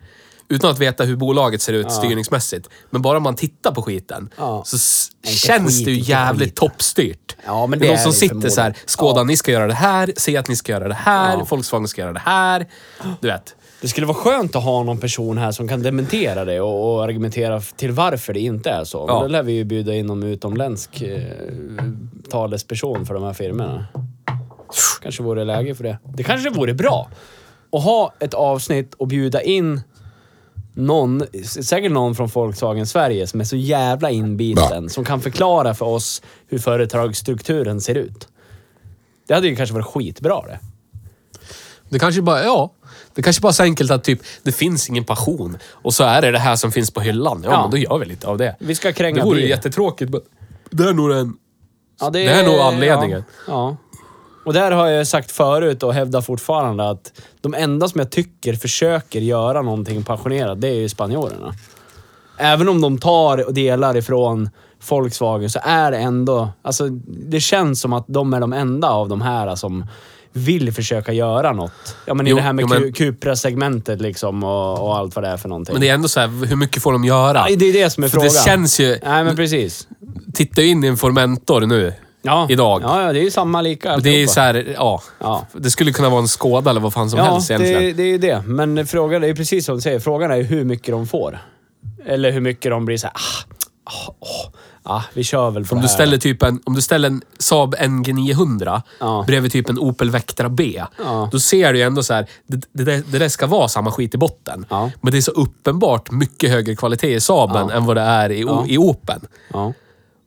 Speaker 2: Utan att veta hur bolaget ser ut styrningsmässigt. Men bara man tittar på skiten
Speaker 1: Ja.
Speaker 2: så s-
Speaker 1: Inte
Speaker 2: känns
Speaker 1: skit,
Speaker 2: det ju
Speaker 1: inte
Speaker 2: jävligt toppstyrt.
Speaker 1: Ja, men
Speaker 2: Det
Speaker 1: det
Speaker 2: är
Speaker 1: är
Speaker 2: de som
Speaker 1: det
Speaker 2: sitter så här,
Speaker 1: förmodligen.
Speaker 2: Skåda, ni ska göra det här, se att ni ska göra det här, Volkswagen ska göra det här. Du vet.
Speaker 1: Det skulle vara skönt att ha någon person här som kan dementera det och, och argumentera f- till varför det inte är så. Men
Speaker 2: Ja.
Speaker 1: då lär vi ju bjuda in någon utomländsk eh, talesperson för de här firmorna. Kanske vore läge för det. Det kanske vore bra att ha ett avsnitt och bjuda in någon, s- säkert någon från Volkswagen Sverige som är så jävla inbiten, som kan förklara för oss hur företagsstrukturen ser ut. Det hade ju kanske varit skitbra det.
Speaker 2: Det kanske bara, ja. Det kanske bara är så enkelt att typ, det finns ingen passion och så är det det här som finns på hyllan. Ja,
Speaker 1: Ja.
Speaker 2: men då gör vi lite av det.
Speaker 1: Vi ska kränga
Speaker 2: Det vore ju
Speaker 1: bil.
Speaker 2: jättetråkigt, men det är nog den...
Speaker 1: Ja,
Speaker 2: Det är nog anledningen.
Speaker 1: Ja, ja. Och där har jag sagt förut och hävdar fortfarande att de enda som jag tycker försöker göra någonting passionerat, det är ju spanjorerna. Även om de tar och delar ifrån Volkswagen så är det ändå... Alltså, det känns som att de är de enda av de här som vill försöka göra något. Ja, men i
Speaker 2: Jo,
Speaker 1: det här med
Speaker 2: jo, men-
Speaker 1: Cu- Cupra-segmentet liksom och, och allt vad det är för någonting.
Speaker 2: Men det är ändå så här, hur mycket får de göra?
Speaker 1: Ja, det är det som är
Speaker 2: För
Speaker 1: frågan.
Speaker 2: Det känns ju...
Speaker 1: Nej, men precis.
Speaker 2: Titta in i en Formentor nu.
Speaker 1: Ja.
Speaker 2: Idag.
Speaker 1: Ja, ja, det är ju samma lika.
Speaker 2: Det är ju
Speaker 1: alltihopa.
Speaker 2: så här, ja.
Speaker 1: Ja.
Speaker 2: Det skulle kunna vara en skåda eller vad fan som helst egentligen.
Speaker 1: det, det är ju det. Men frågan är ju precis som du säger. Frågan är ju hur mycket de får. Eller hur mycket de blir så här, ah, ah, åh, ah, vi kör väl på
Speaker 2: Om
Speaker 1: det
Speaker 2: du,
Speaker 1: här."
Speaker 2: ställer typ en, om du ställer en Saab NG900
Speaker 1: Ja.
Speaker 2: bredvid typ en Opel Vectra B.
Speaker 1: Ja.
Speaker 2: Då ser du ju ändå så här, det, det, där- det där ska vara samma skit i botten.
Speaker 1: Ja.
Speaker 2: Men det är så uppenbart mycket högre kvalitet i Saaben än vad det är i, ja. i Opeln.
Speaker 1: Ja.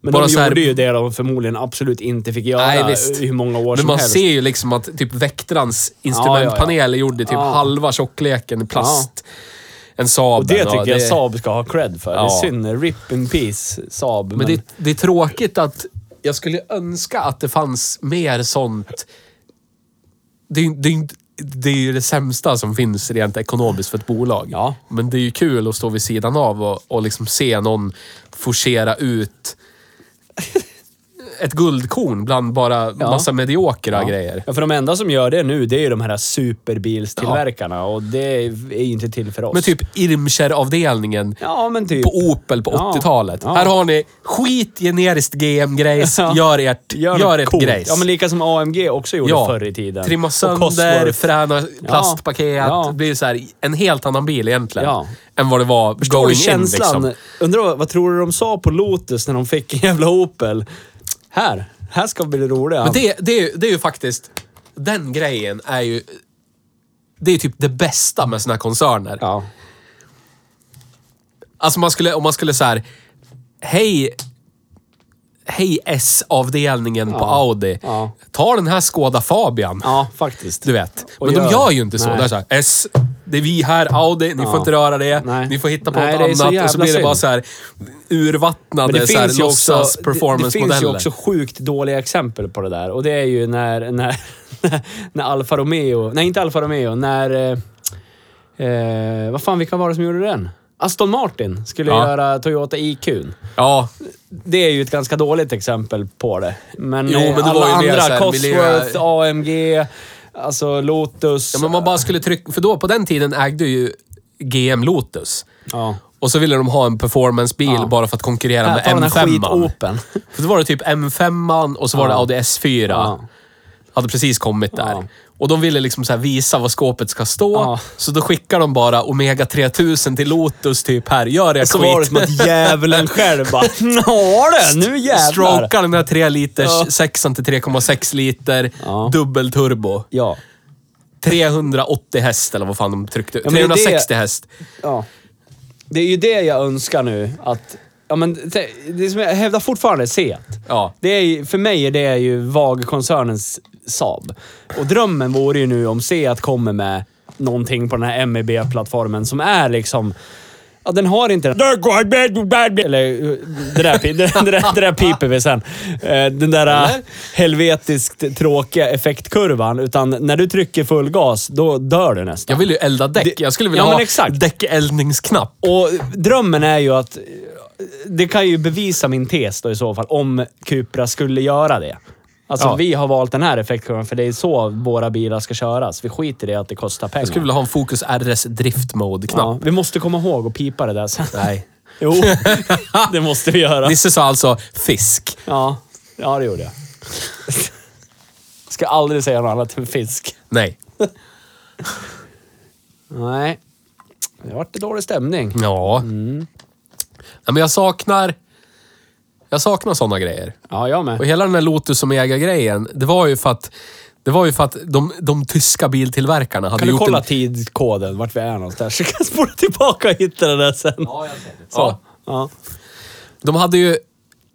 Speaker 1: Men
Speaker 2: Bara
Speaker 1: de
Speaker 2: så här-
Speaker 1: gjorde ju det de förmodligen absolut inte fick göra
Speaker 2: Nej, visst.
Speaker 1: hur många år
Speaker 2: Men
Speaker 1: som
Speaker 2: man
Speaker 1: helst.
Speaker 2: ser ju liksom att typ Vectrans instrumentpanel är gjord i typ
Speaker 1: Ja.
Speaker 2: halva tjockleken i plast. En Saaben.
Speaker 1: Och det tycker
Speaker 2: ja,
Speaker 1: jag Saab ska ha cred för. Det
Speaker 2: Ja.
Speaker 1: är synd. Rip in peace, Saab. Men,
Speaker 2: Men det, det är tråkigt att jag skulle önska att det fanns mer sånt. Det, är ju- det, är ju inte- det är ju det sämsta som finns rent ekonomiskt för ett bolag.
Speaker 1: Ja.
Speaker 2: Men det är ju kul att stå vid sidan av och, och liksom se någon forcera ut ett guldkorn bland bara massa mediokra grejer.
Speaker 1: Ja, för de enda som gör det nu, det är ju de här superbilstillverkarna och det är ju inte till för oss.
Speaker 2: Men typ Irmscher-avdelningen
Speaker 1: Ja, men typ.
Speaker 2: på Opel på
Speaker 1: Ja.
Speaker 2: 80-talet.
Speaker 1: Ja.
Speaker 2: Här har ni skit generiskt GM-grejs.
Speaker 1: Ja.
Speaker 2: Gör ert, gör
Speaker 1: något
Speaker 2: ert
Speaker 1: coolt.
Speaker 2: grejs.
Speaker 1: Ja, men lika som AMG också gjorde
Speaker 2: Ja.
Speaker 1: förr i tiden.
Speaker 2: Trimma
Speaker 1: Och Cosworth.
Speaker 2: sönder, fräna plastpaket.
Speaker 1: Ja.
Speaker 2: Det blir så här en helt annan bil egentligen.
Speaker 1: Ja.
Speaker 2: Än vad det var
Speaker 1: Förstår du
Speaker 2: going
Speaker 1: känslan?
Speaker 2: in liksom.
Speaker 1: Undrar vad, vad tror du de sa på Lotus när de fick en jävla Opel? Här, här ska bli det roliga.
Speaker 2: Men det, det, är ju, det är ju faktiskt... Den grejen är ju... Det är ju typ det bästa med såna här koncerner.
Speaker 1: Ja.
Speaker 2: Alltså man skulle, om man skulle så här, Hej... Hej S-avdelningen på Audi.
Speaker 1: Ja.
Speaker 2: Ta den här Skoda Fabian.
Speaker 1: ja, faktiskt.
Speaker 2: Du vet.
Speaker 1: Och
Speaker 2: Men
Speaker 1: gör-
Speaker 2: de gör ju inte så.
Speaker 1: Nej.
Speaker 2: Det är så här, S, det är vi här, Audi, ni får inte röra det.
Speaker 1: Nej.
Speaker 2: Ni får hitta på
Speaker 1: Nej, det är
Speaker 2: något
Speaker 1: så
Speaker 2: annat. Och så
Speaker 1: jävla
Speaker 2: blir det bara
Speaker 1: synd.
Speaker 2: så här urvattnade
Speaker 1: Men det,
Speaker 2: så här,
Speaker 1: finns ju också,
Speaker 2: låtsas
Speaker 1: det, det finns ju
Speaker 2: performance-modeller.
Speaker 1: också sjukt dåliga exempel på det där. Och det är ju när, när, när Alfa Romeo... Nej, inte Alfa Romeo. När... eh, Eh, vad fan, vilka var det som gjorde den? Aston Martin skulle
Speaker 2: Ja.
Speaker 1: göra Toyota IQ'n.
Speaker 2: Ja,
Speaker 1: Det är ju ett ganska dåligt exempel på det. Men,
Speaker 2: Jo,
Speaker 1: eh,
Speaker 2: men det
Speaker 1: alla
Speaker 2: var ju mer
Speaker 1: andra,
Speaker 2: så här
Speaker 1: Cosworth,
Speaker 2: miljö-
Speaker 1: AMG, alltså Lotus.
Speaker 2: ja, men man bara skulle trycka... För då, på den tiden ägde ju GM Lotus.
Speaker 1: Ja.
Speaker 2: Och så ville de ha en performancebil
Speaker 1: Ja.
Speaker 2: bara för att konkurrera
Speaker 1: Här,
Speaker 2: med
Speaker 1: ta den här
Speaker 2: M5.
Speaker 1: skit-Open.
Speaker 2: För då var det typ M5 och så var det Audi S4.
Speaker 1: Ja.
Speaker 2: Hade precis kommit där.
Speaker 1: Ja.
Speaker 2: Och de ville liksom så här visa vad skåpet ska stå.
Speaker 1: Ja.
Speaker 2: Så då skickar de bara Omega 3000 till Lotus typ här. Gör er
Speaker 1: Så var det
Speaker 2: skit.
Speaker 1: som att djävulen själv bara Nå du, nu jävlar!”
Speaker 2: Strokar den här 3 liters
Speaker 1: Ja.
Speaker 2: sexan till 3,6 liter.
Speaker 1: Ja.
Speaker 2: Dubbelturbo.
Speaker 1: Ja.
Speaker 2: 380 häst eller vad fan de tryckte.
Speaker 1: Ja, men det är det-
Speaker 2: 360 häst.
Speaker 1: ja. Det är ju det jag önskar nu. Att, ja, men, te- det som jag hävdar fortfarande är Seat.
Speaker 2: Ja.
Speaker 1: Det är, ju- för mig är det ju VAG-koncernens Saab. Och drömmen vore ju nu om Seat kommer med någonting på den här MEB-plattformen som är liksom... Ja, den har inte den... Eller eh, det där, pi- det, där- det, där, det där piper vi sen. Eh, Den där eh, helvetiskt tråkiga effektkurvan. Utan när du trycker full gas, då dör du nästan.
Speaker 2: Jag vill ju elda däck.
Speaker 1: Det-
Speaker 2: Jag skulle vilja
Speaker 1: Ja, men
Speaker 2: ha
Speaker 1: exakt.
Speaker 2: däckeldningsknapp.
Speaker 1: Och drömmen är ju att... Det kan ju bevisa min tes då i så fall, om Cupra skulle göra det. Alltså
Speaker 2: Ja.
Speaker 1: vi har valt den här effektkurvan för det är så våra bilar ska köras. Vi skiter i att det kostar pengar.
Speaker 2: Jag skulle vilja ha en Focus RS Drift Mode-knapp.
Speaker 1: ja, vi måste komma ihåg att pipa det där sen.
Speaker 2: Nej.
Speaker 1: Jo, det måste vi göra.
Speaker 2: Nisse sa alltså fisk.
Speaker 1: Ja, ja det gjorde jag. Ska aldrig säga något annat än fisk.
Speaker 2: Nej.
Speaker 1: Nej. Det vart det dålig stämning.
Speaker 2: Ja. Nej, Mm. men jag saknar... Jag saknar sådana grejer.
Speaker 1: Ja, jag
Speaker 2: Och
Speaker 1: med.
Speaker 2: hela den här Lotus Omega-grejen, det var ju för att... Det var ju för att de, de tyska biltillverkarna hade
Speaker 1: Kan du
Speaker 2: gjort
Speaker 1: kolla
Speaker 2: en...
Speaker 1: tidkoden, vart vi är någonstans? Så kan jag spola tillbaka och hitta den där sen. Ja, jag ser det. Så.
Speaker 2: Ja.
Speaker 1: Ja.
Speaker 2: De hade ju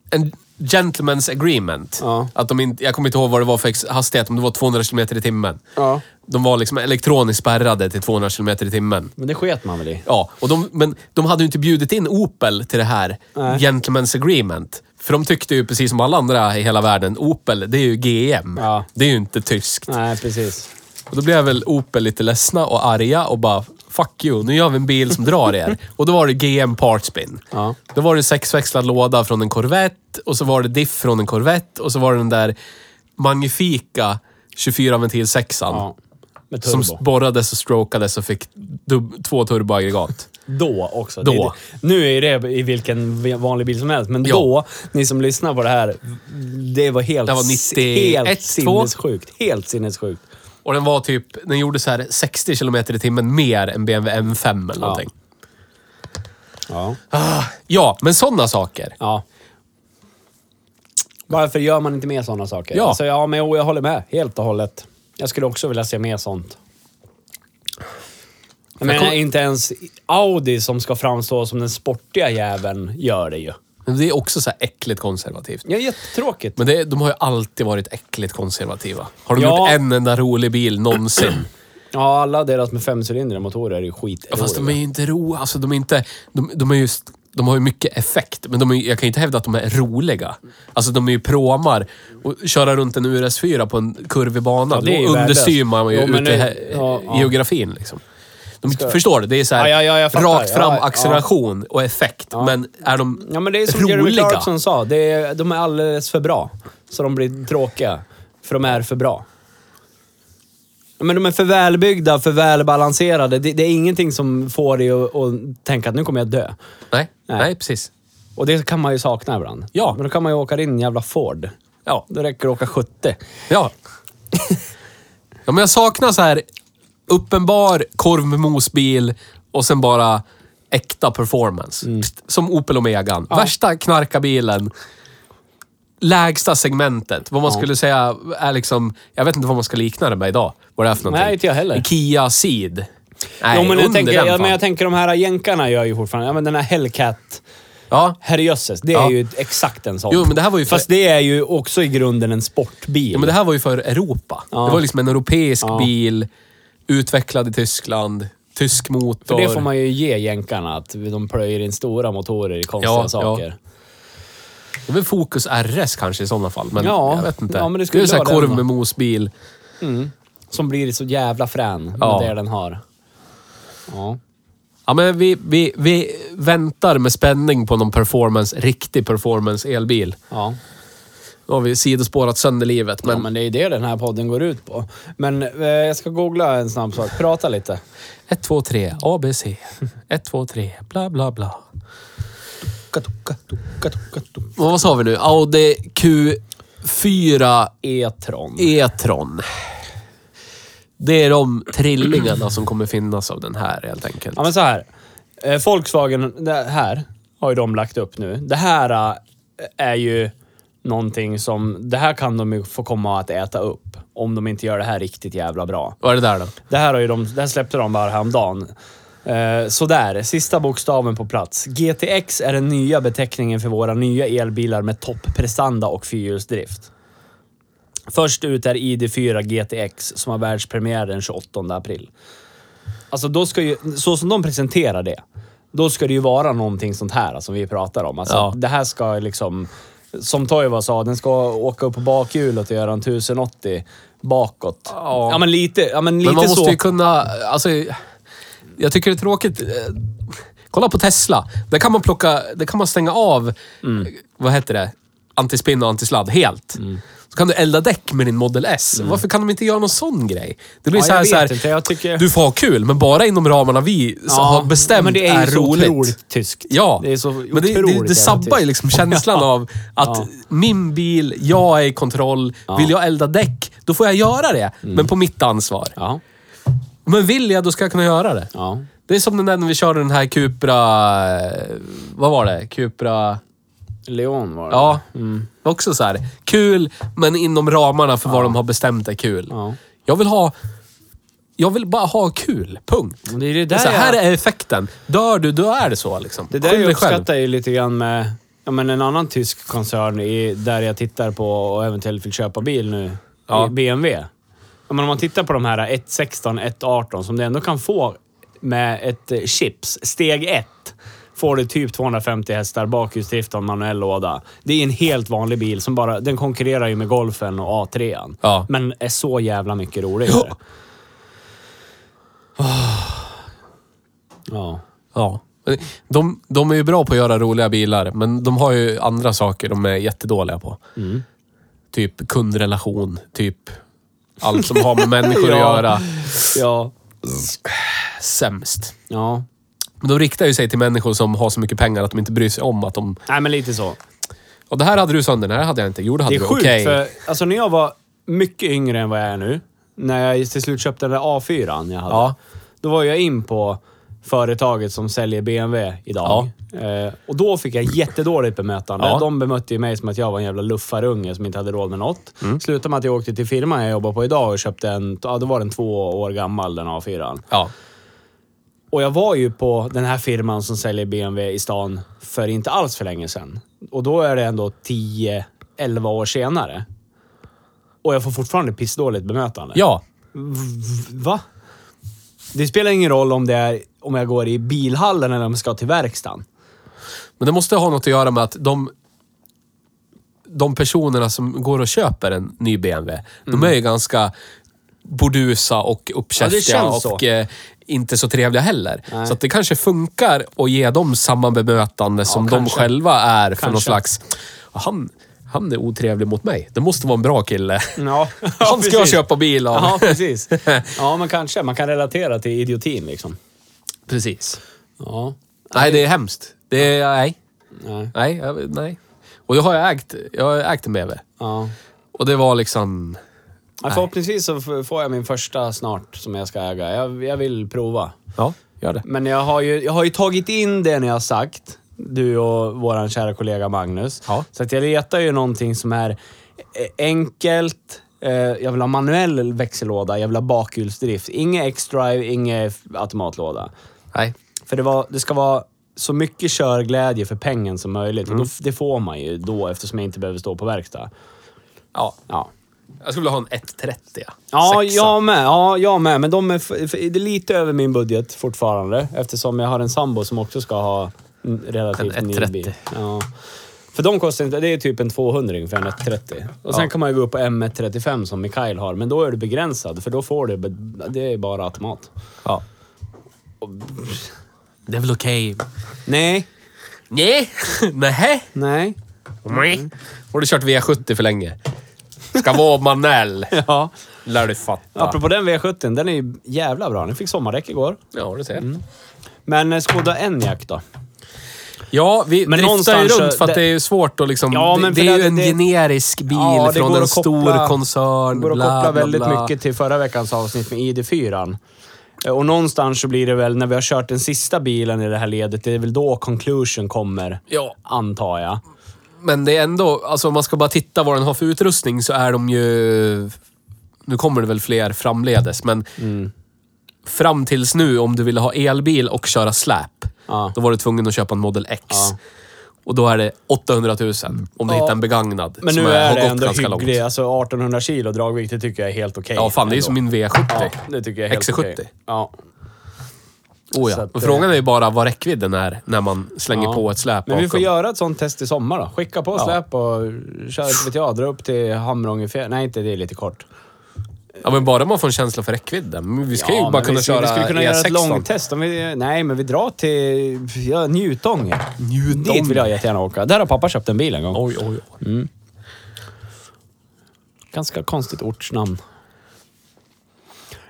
Speaker 2: en gentleman's agreement.
Speaker 1: Ja.
Speaker 2: Att de inte, jag kommer inte ihåg vad det var för ex- hastighet, om det var 200 km i timmen.
Speaker 1: Ja.
Speaker 2: De var liksom elektroniskt spärrade till 200 km i timmen.
Speaker 1: Men det sket man väl i?
Speaker 2: Ja, och de, men de hade ju inte bjudit in Opel till det här
Speaker 1: Nej.
Speaker 2: Gentleman's Agreement. För de tyckte ju precis som alla andra i hela världen, Opel, det är ju GM.
Speaker 1: Ja.
Speaker 2: Det är ju inte tyskt.
Speaker 1: Nej, precis.
Speaker 2: Och då blev väl Opel lite ledsna och arga och bara Fuck you, nu gör vi en bil som drar er. och då var det GM Partspin.
Speaker 1: Ja.
Speaker 2: Då var det en sexväxlad låda från en Corvette och så var det diff från en Corvette och så var det den där magnifika 24-ventil sexan.
Speaker 1: Ja. Med turbo.
Speaker 2: Som borrades och strokades och fick dub- två turboaggregat.
Speaker 1: Då också.
Speaker 2: Då.
Speaker 1: Det är det. Nu är det i vilken vanlig bil som helst, men
Speaker 2: Ja.
Speaker 1: då, ni som lyssnar på det här, det var helt,
Speaker 2: Det var 91,
Speaker 1: helt
Speaker 2: 2.
Speaker 1: sinnessjukt. Helt sinnessjukt.
Speaker 2: Och den var typ, den gjorde så här 60 kilometer i timmen mer än BMW M5 eller någonting.
Speaker 1: Ja.
Speaker 2: Ja, men sådana saker.
Speaker 1: ja. Varför gör man inte mer sådana saker?
Speaker 2: Ja.
Speaker 1: Alltså, ja, men jo, jag håller med helt och hållet. Jag skulle också vilja se mer sånt. Jag menar,
Speaker 2: kom-
Speaker 1: inte ens Audi som ska framstå som den sportiga jäveln gör det ju.
Speaker 2: Men det är också så här äckligt konservativt.
Speaker 1: Ja, jättetråkigt.
Speaker 2: Men det, de har ju alltid varit äckligt konservativa. Har de
Speaker 1: Ja.
Speaker 2: gjort en enda rolig bil någonsin?
Speaker 1: Ja, alla deras med femcylindriga motorer är ju skit.
Speaker 2: Ja, fast de är ju inte ro... Alltså de är inte... De, de är just... De har ju mycket effekt, men de är, ju- jag kan ju inte hävda att de är roliga. Alltså de är ju pråmar. Och köra runt en URS4 på en kurvig bana,
Speaker 1: Ja, det är ju
Speaker 2: då understyr
Speaker 1: värdelöst.
Speaker 2: man ju
Speaker 1: Jo, men
Speaker 2: ute i
Speaker 1: nu-
Speaker 2: he-
Speaker 1: ja, ja.
Speaker 2: geografin liksom. De förstår du? Det är så här,
Speaker 1: Ja, ja, ja, jag fattar.
Speaker 2: rakt fram
Speaker 1: Ja, ja.
Speaker 2: acceleration och effekt. Men är de
Speaker 1: Ja, men det är som Jeremy
Speaker 2: roliga?
Speaker 1: Clarkson sa. Det är, de är alldeles för bra. Så de blir tråkiga. För de är för bra. Ja, Men de är för välbyggda, för välbalanserade. Det, det är ingenting som får dig att, att tänka att nu kommer jag dö.
Speaker 2: Nej,
Speaker 1: Nej.
Speaker 2: nej. precis.
Speaker 1: Och det kan man ju sakna ibland.
Speaker 2: Ja.
Speaker 1: Men då kan man ju åka in i en jävla Ford.
Speaker 2: Ja.
Speaker 1: Då räcker det att åka 70.
Speaker 2: Ja. ja, men jag saknar så här uppenbar korv med mosbil och sen bara äkta performance.
Speaker 1: Mm.
Speaker 2: Pst, Som Opel Omegan. Värsta knarkarbilen. Lägsta segmentet. Vad man skulle säga är liksom... Jag vet inte vad man ska likna det med idag. Vad det är för någonting.
Speaker 1: Nej, inte jag heller.
Speaker 2: En Kia Ceed. Nej,
Speaker 1: jo, men,
Speaker 2: under
Speaker 1: jag tänker,
Speaker 2: den
Speaker 1: ja, men
Speaker 2: fan.
Speaker 1: jag tänker de här jänkarna gör ju fortfarande... Ja, men den här Hellcat.
Speaker 2: Ja.
Speaker 1: Herrejösses, det är
Speaker 2: Ja.
Speaker 1: ju exakt en sån.
Speaker 2: Jo, men det här var ju för-
Speaker 1: Fast det är ju också i grunden en sportbil.
Speaker 2: Ja, men det här var ju för Europa.
Speaker 1: Ja.
Speaker 2: Det var liksom en europeisk bil, utvecklad i Tyskland, tysk motor.
Speaker 1: För det får man ju ge jänkarna, att de plöjer in stora motorer i konstiga
Speaker 2: Ja, ja.
Speaker 1: saker.
Speaker 2: Det är väl Focus RS kanske i sådana fall, men
Speaker 1: Ja.
Speaker 2: jag vet inte.
Speaker 1: Ja, men det
Speaker 2: det är
Speaker 1: skulle
Speaker 2: ju så här
Speaker 1: vara den
Speaker 2: korv
Speaker 1: då.
Speaker 2: med mosbil.
Speaker 1: Som blir så jävla frän
Speaker 2: Ja.
Speaker 1: med det den har. Ja.
Speaker 2: Ja, men vi, vi, vi väntar med spänning på någon performance, riktig performance elbil.
Speaker 1: Ja.
Speaker 2: Nu har vi sidospårat sönder livet, men,
Speaker 1: ja, men det är ju det den här podden går ut på. Men eh, jag ska googla en snabb sak. Prata lite.
Speaker 2: 1, 2, 3, ABC. 1, 2, 3, bla bla bla. Och vad sa vi nu? Audi Q4
Speaker 1: E-tron.
Speaker 2: E-tron. Det är de trillingarna som kommer finnas av den här helt enkelt.
Speaker 1: Ja, men så här. Eh, Volkswagen, det här har ju de lagt upp nu. Det här eh, är ju någonting som... Det här kan de ju få komma att äta upp. Om de inte gör det här riktigt jävla bra.
Speaker 2: Vad är det där då?
Speaker 1: Det här, har ju de, det här släppte de bara häromdagen. Eh, sådär, sista bokstaven på plats. GTX är den nya beteckningen för våra nya elbilar med topprestanda och fyrhjulsdrift. Först ut är ID4 GTX som har världspremiär den 28 april. Alltså, då ska ju, så som de presenterar det, då ska det ju vara någonting sånt här som vi pratar om. Alltså,
Speaker 2: Ja.
Speaker 1: Det här ska liksom... Som Toivo sa, den ska åka upp på bakhjulet och göra en 1080 bakåt.
Speaker 2: Ja.
Speaker 1: ja men lite, ja, men
Speaker 2: Men man
Speaker 1: Lite
Speaker 2: måste
Speaker 1: så.
Speaker 2: ju kunna... Alltså, jag tycker det är tråkigt. eh, Kolla på Tesla. Där kan man plocka... Där kan man stänga av...
Speaker 1: Mm.
Speaker 2: eh, Vad heter det? Antispinn och antisladd helt. Så kan du elda däck med din Model S. Varför kan de inte göra någon sån grej? Det blir
Speaker 1: Mm. Ja,
Speaker 2: så här,
Speaker 1: jag
Speaker 2: så
Speaker 1: vet inte.
Speaker 2: här
Speaker 1: Jag tycker-
Speaker 2: du får ha kul, men bara inom ramarna vi så har bestämt
Speaker 1: men det är, ju så
Speaker 2: roligt.
Speaker 1: otroligt tyskt.
Speaker 2: Ja,
Speaker 1: det är så
Speaker 2: men det,
Speaker 1: otroligt
Speaker 2: det,
Speaker 1: jävla
Speaker 2: det sabbar ju
Speaker 1: tyskt.
Speaker 2: liksom känslan av att
Speaker 1: Ja.
Speaker 2: min bil, jag är i kontroll. Vill jag elda däck, då får jag göra det.
Speaker 1: Mm.
Speaker 2: Men på mitt ansvar.
Speaker 1: Ja,
Speaker 2: Men vill jag, då ska jag kunna göra det.
Speaker 1: ja.
Speaker 2: Det är som den där när vi körde den här Cupra... eh, Vad var det? Cupra...
Speaker 1: Leon var det.
Speaker 2: Ja.
Speaker 1: Mm.
Speaker 2: Det var Också så här. Kul, men inom ramarna för vad de har bestämt är kul.
Speaker 1: Ja.
Speaker 2: Jag vill ha... Jag vill bara ha kul. Punkt.
Speaker 1: Det är det
Speaker 2: Det är
Speaker 1: där
Speaker 2: så här,
Speaker 1: jag,
Speaker 2: här är effekten. Dör du, då är det så liksom.
Speaker 1: det där
Speaker 2: Skyll
Speaker 1: jag
Speaker 2: dig själv.
Speaker 1: uppskattar ju lite grann med ja, men en annan tysk koncern i, där jag tittar på och eventuellt vill köpa bil nu.
Speaker 2: Ja.
Speaker 1: i BMW. Ja, men om man tittar på de här 116, 118 som du ändå kan få med ett eh, chips. Steg 1 får du typ 250 hästar, bakhjulsdrift och en manuell låda. Det är en helt vanlig bil som bara... Den konkurrerar ju med Golfen och A3.
Speaker 2: Ja.
Speaker 1: Men är så jävla mycket roligare. Ah.
Speaker 2: Ja.
Speaker 1: Ja.
Speaker 2: Ja. Men De, de är ju bra på att göra roliga bilar, men de har ju andra saker de är jättedåliga på.
Speaker 1: Mm.
Speaker 2: Typ kundrelation, typ allt som har med människor att
Speaker 1: Ja.
Speaker 2: göra.
Speaker 1: Ja.
Speaker 2: Sämst.
Speaker 1: Ja.
Speaker 2: Men de riktar ju sig till människor som har så mycket pengar att de inte bryr sig om att de...
Speaker 1: Nej, men lite så.
Speaker 2: Och det här hade du sönder, det här hade jag inte. Jo, det hade
Speaker 1: Det är
Speaker 2: du.
Speaker 1: sjukt,
Speaker 2: Okej.
Speaker 1: för alltså, när jag var mycket yngre än vad jag är nu, när jag till slut köpte den där A4 jag hade,
Speaker 2: Ja.
Speaker 1: då var jag in på företaget som säljer BMW idag. Eh, och då fick jag jättedåligt bemötande.
Speaker 2: Ja.
Speaker 1: De bemötte ju mig som att jag var en jävla luffarunge som inte hade råd med något.
Speaker 2: Mm.
Speaker 1: Slutade med att jag åkte till firman jag jobbar på idag och köpte en, ja då var den två år gammal den A4.
Speaker 2: Ja.
Speaker 1: Och jag var ju på den här firman som säljer BMW i stan för inte alls för länge sedan. Och då är det ändå 10-11 år senare. Och jag får fortfarande pissdåligt bemötande.
Speaker 2: Ja.
Speaker 1: Va? Det spelar ingen roll om, det är, om jag går i bilhallen eller om jag ska till verkstaden.
Speaker 2: Men det måste ha något att göra med att de... De personerna som går och köper en ny BMW, de är ju ganska burdusa och uppkäftiga
Speaker 1: Mm. Ja, det känns
Speaker 2: och
Speaker 1: så.
Speaker 2: eh, inte så trevliga heller. Så att det kanske funkar att ge dem samma bemötande som de
Speaker 1: kanske.
Speaker 2: själva är för någon
Speaker 1: Kanske.
Speaker 2: slags... Han, han är otrevlig mot mig. Det måste vara en bra kille.
Speaker 1: Mm. Ja.
Speaker 2: Han ska jag
Speaker 1: precis.
Speaker 2: köpa bil av.
Speaker 1: Ja, precis. Ja, men kanske. Man kan relatera till idiotin liksom.
Speaker 2: Precis.
Speaker 1: Ja.
Speaker 2: Nej, det är hemskt. Det är... Nej.
Speaker 1: Nej.
Speaker 2: Nej. jag- nej. Och jag har ägt, jag har ägt en BMW.
Speaker 1: Ja.
Speaker 2: Och det var liksom...
Speaker 1: Ja, förhoppningsvis så f- får jag min första snart som jag ska äga. Jag, jag vill prova.
Speaker 2: Ja, gör det.
Speaker 1: Men jag har, ju, jag har ju tagit in det ni har sagt, du och vår kära kollega Magnus.
Speaker 2: Ja.
Speaker 1: Så att jag letar ju någonting som är eh, enkelt. Eh, Jag vill ha manuell växellåda, jag vill ha bakhjulsdrift. Inget X-drive, inget f- automatlåda.
Speaker 2: Nej.
Speaker 1: För det, var, det ska vara så mycket körglädje för pengen som möjligt. Och då, f- det får man ju då eftersom jag inte behöver stå på verkstad.
Speaker 2: Ja.
Speaker 1: Ja.
Speaker 2: Jag skulle vilja ha en 130.
Speaker 1: Ja,
Speaker 2: Sexa.
Speaker 1: jag med. Ja, jag med. Men de är, f- f- det är lite över min budget fortfarande. Eftersom jag har en sambo som också ska ha en relativt
Speaker 2: En
Speaker 1: ny
Speaker 2: 130.
Speaker 1: bil. Ja. För de kostar inte... Det är typ en 200 för en 130. Och sen kan man ju gå upp på M135 som Mikael har. Men då är du begränsad, för då får du... be- Det är bara automat.
Speaker 2: Ja. Det är väl okej.
Speaker 1: Nej.
Speaker 2: Nej. Nej. Mm.
Speaker 1: Nej.
Speaker 2: Har du kört V70 för länge? Ska vara manuell.
Speaker 1: Ja.
Speaker 2: Lär du fatta.
Speaker 1: Apropå den V70, den är ju jävla bra. Den fick sommardäck igår.
Speaker 2: Ja, du ser.
Speaker 1: Men eh, Skoda Enyaq då?
Speaker 2: Ja, vi
Speaker 1: Men
Speaker 2: driftar ju
Speaker 1: någonstans
Speaker 2: runt
Speaker 1: så-
Speaker 2: för att
Speaker 1: det-
Speaker 2: det är ju svårt att liksom...
Speaker 1: Ja,
Speaker 2: det-
Speaker 1: men
Speaker 2: det
Speaker 1: för
Speaker 2: är ju
Speaker 1: det-
Speaker 2: en
Speaker 1: det-
Speaker 2: generisk bil
Speaker 1: Ja, det
Speaker 2: från
Speaker 1: går
Speaker 2: en
Speaker 1: att
Speaker 2: stor
Speaker 1: koppla-
Speaker 2: koncern.
Speaker 1: går att
Speaker 2: bla,
Speaker 1: koppla
Speaker 2: bla,
Speaker 1: väldigt
Speaker 2: bla.
Speaker 1: mycket till förra veckans avsnitt med ID4. Eh, Och någonstans så blir det väl, när vi har kört den sista bilen i det här ledet, det är väl då conclusion kommer.
Speaker 2: Ja.
Speaker 1: Antar jag.
Speaker 2: Men det är ändå, alltså om man ska bara titta vad den har för utrustning så är de ju... Nu kommer det väl fler framledes, men
Speaker 1: Mm.
Speaker 2: fram tills nu om du ville ha elbil och köra släp,
Speaker 1: Ja.
Speaker 2: då var du tvungen att köpa en Model X.
Speaker 1: Ja.
Speaker 2: Och då är det 800 000 om du
Speaker 1: Ja.
Speaker 2: hittar en begagnad
Speaker 1: Men
Speaker 2: som
Speaker 1: nu
Speaker 2: har
Speaker 1: är det
Speaker 2: gått
Speaker 1: ändå
Speaker 2: ganska
Speaker 1: hyggligt.
Speaker 2: långt.
Speaker 1: Alltså 1800 kilo dragvikt, det tycker jag är helt okej.
Speaker 2: Ja, fan det är ju
Speaker 1: ändå.
Speaker 2: som min V70.
Speaker 1: Ja, det tycker jag är helt
Speaker 2: XC70.
Speaker 1: okej. Ja.
Speaker 2: Oh,
Speaker 1: Så
Speaker 2: ja.
Speaker 1: att, eh,
Speaker 2: Men frågan är ju bara vad räckvidden är när man slänger
Speaker 1: Ja.
Speaker 2: på ett släp
Speaker 1: Men vi får
Speaker 2: bakom.
Speaker 1: göra ett sånt test i sommar då. Skicka på
Speaker 2: Ja.
Speaker 1: släp och kör, inte vet jag, dra upp till Hamrångefjärden. Nej, inte det är lite kort.
Speaker 2: Ja, men bara man får en känsla för räckvidden. Men Vi ska ju
Speaker 1: men
Speaker 2: bara kunna
Speaker 1: vi,
Speaker 2: köra E
Speaker 1: Vi skulle kunna göra ett
Speaker 2: E16.
Speaker 1: långtest. Om vi, nej, men vi drar till ja, Njutånger.
Speaker 2: Njutånger.
Speaker 1: Dit vill jag jättegärna åka. Där har pappa köpt en bil en gång.
Speaker 2: Oj, oj, oj.
Speaker 1: Ganska konstigt ortsnamn.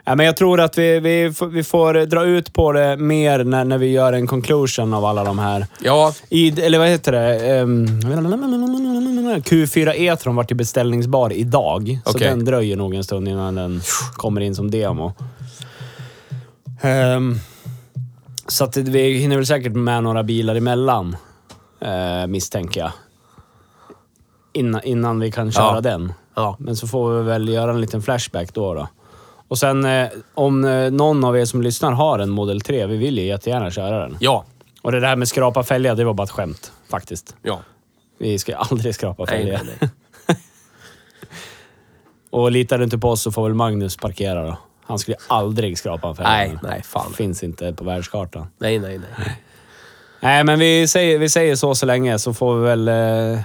Speaker 1: Ja, men jag tror att vi, vi, får- vi får dra ut på det mer när, när vi gör en conclusion av alla de här.
Speaker 2: Ja,
Speaker 1: I, eller vad heter det? Ehm, Q4 E-tron vart ju beställningsbar idag. Så
Speaker 2: Okej.
Speaker 1: den dröjer nog en stund innan den kommer in som demo. Ehm, så att vi hinner väl säkert med några bilar emellan, uh, misstänker jag. Innan, innan vi kan köra
Speaker 2: Ja.
Speaker 1: den.
Speaker 2: Ja.
Speaker 1: Men så får vi väl göra en liten flashback då. då. Och sen eh, om eh, någon av er som lyssnar har en Model 3, vi vill ju jättegärna köra den.
Speaker 2: ja,
Speaker 1: Och det där med skrapa fälgar, det var bara ett skämt faktiskt.
Speaker 2: ja.
Speaker 1: Vi ska aldrig skrapa
Speaker 2: Nej,
Speaker 1: fälgar.
Speaker 2: nej, nej.
Speaker 1: Och litar du inte på oss så får väl Magnus parkera då. Han skulle aldrig skrapa en fälg.
Speaker 2: Nej, nej, fan.
Speaker 1: Finns inte på världskartan.
Speaker 2: Nej, nej, nej.
Speaker 1: Nej, men vi säger, vi säger så så länge så får vi väl eh,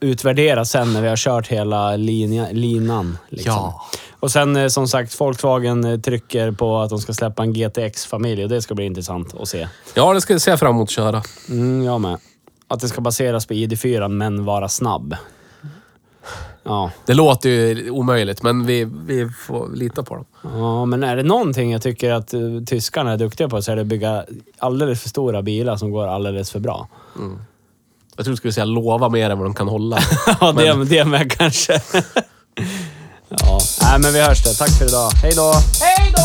Speaker 1: utvärdera sen när vi har kört hela linja, linan. Liksom.
Speaker 2: Ja.
Speaker 1: Och sen eh, som sagt, Volkswagen eh, trycker på att de ska släppa en GTX-familj och det ska bli intressant att se.
Speaker 2: Ja, det ska jag se fram emot att köra.
Speaker 1: Mm, jag med. Att det ska baseras på ID4 men vara snabb. Ja.
Speaker 2: Det låter ju omöjligt, men vi, vi får lita på dem.
Speaker 1: ja, men är det någonting jag tycker att eh, tyskarna är duktiga på så är det att bygga alldeles för stora bilar som går alldeles för bra.
Speaker 2: Jag tror du skulle säga lova mer än vad de kan hålla.
Speaker 1: Ja, det, det med kanske. ja. Nej, men vi hörs då. Tack för idag. Hej då!
Speaker 3: Hey,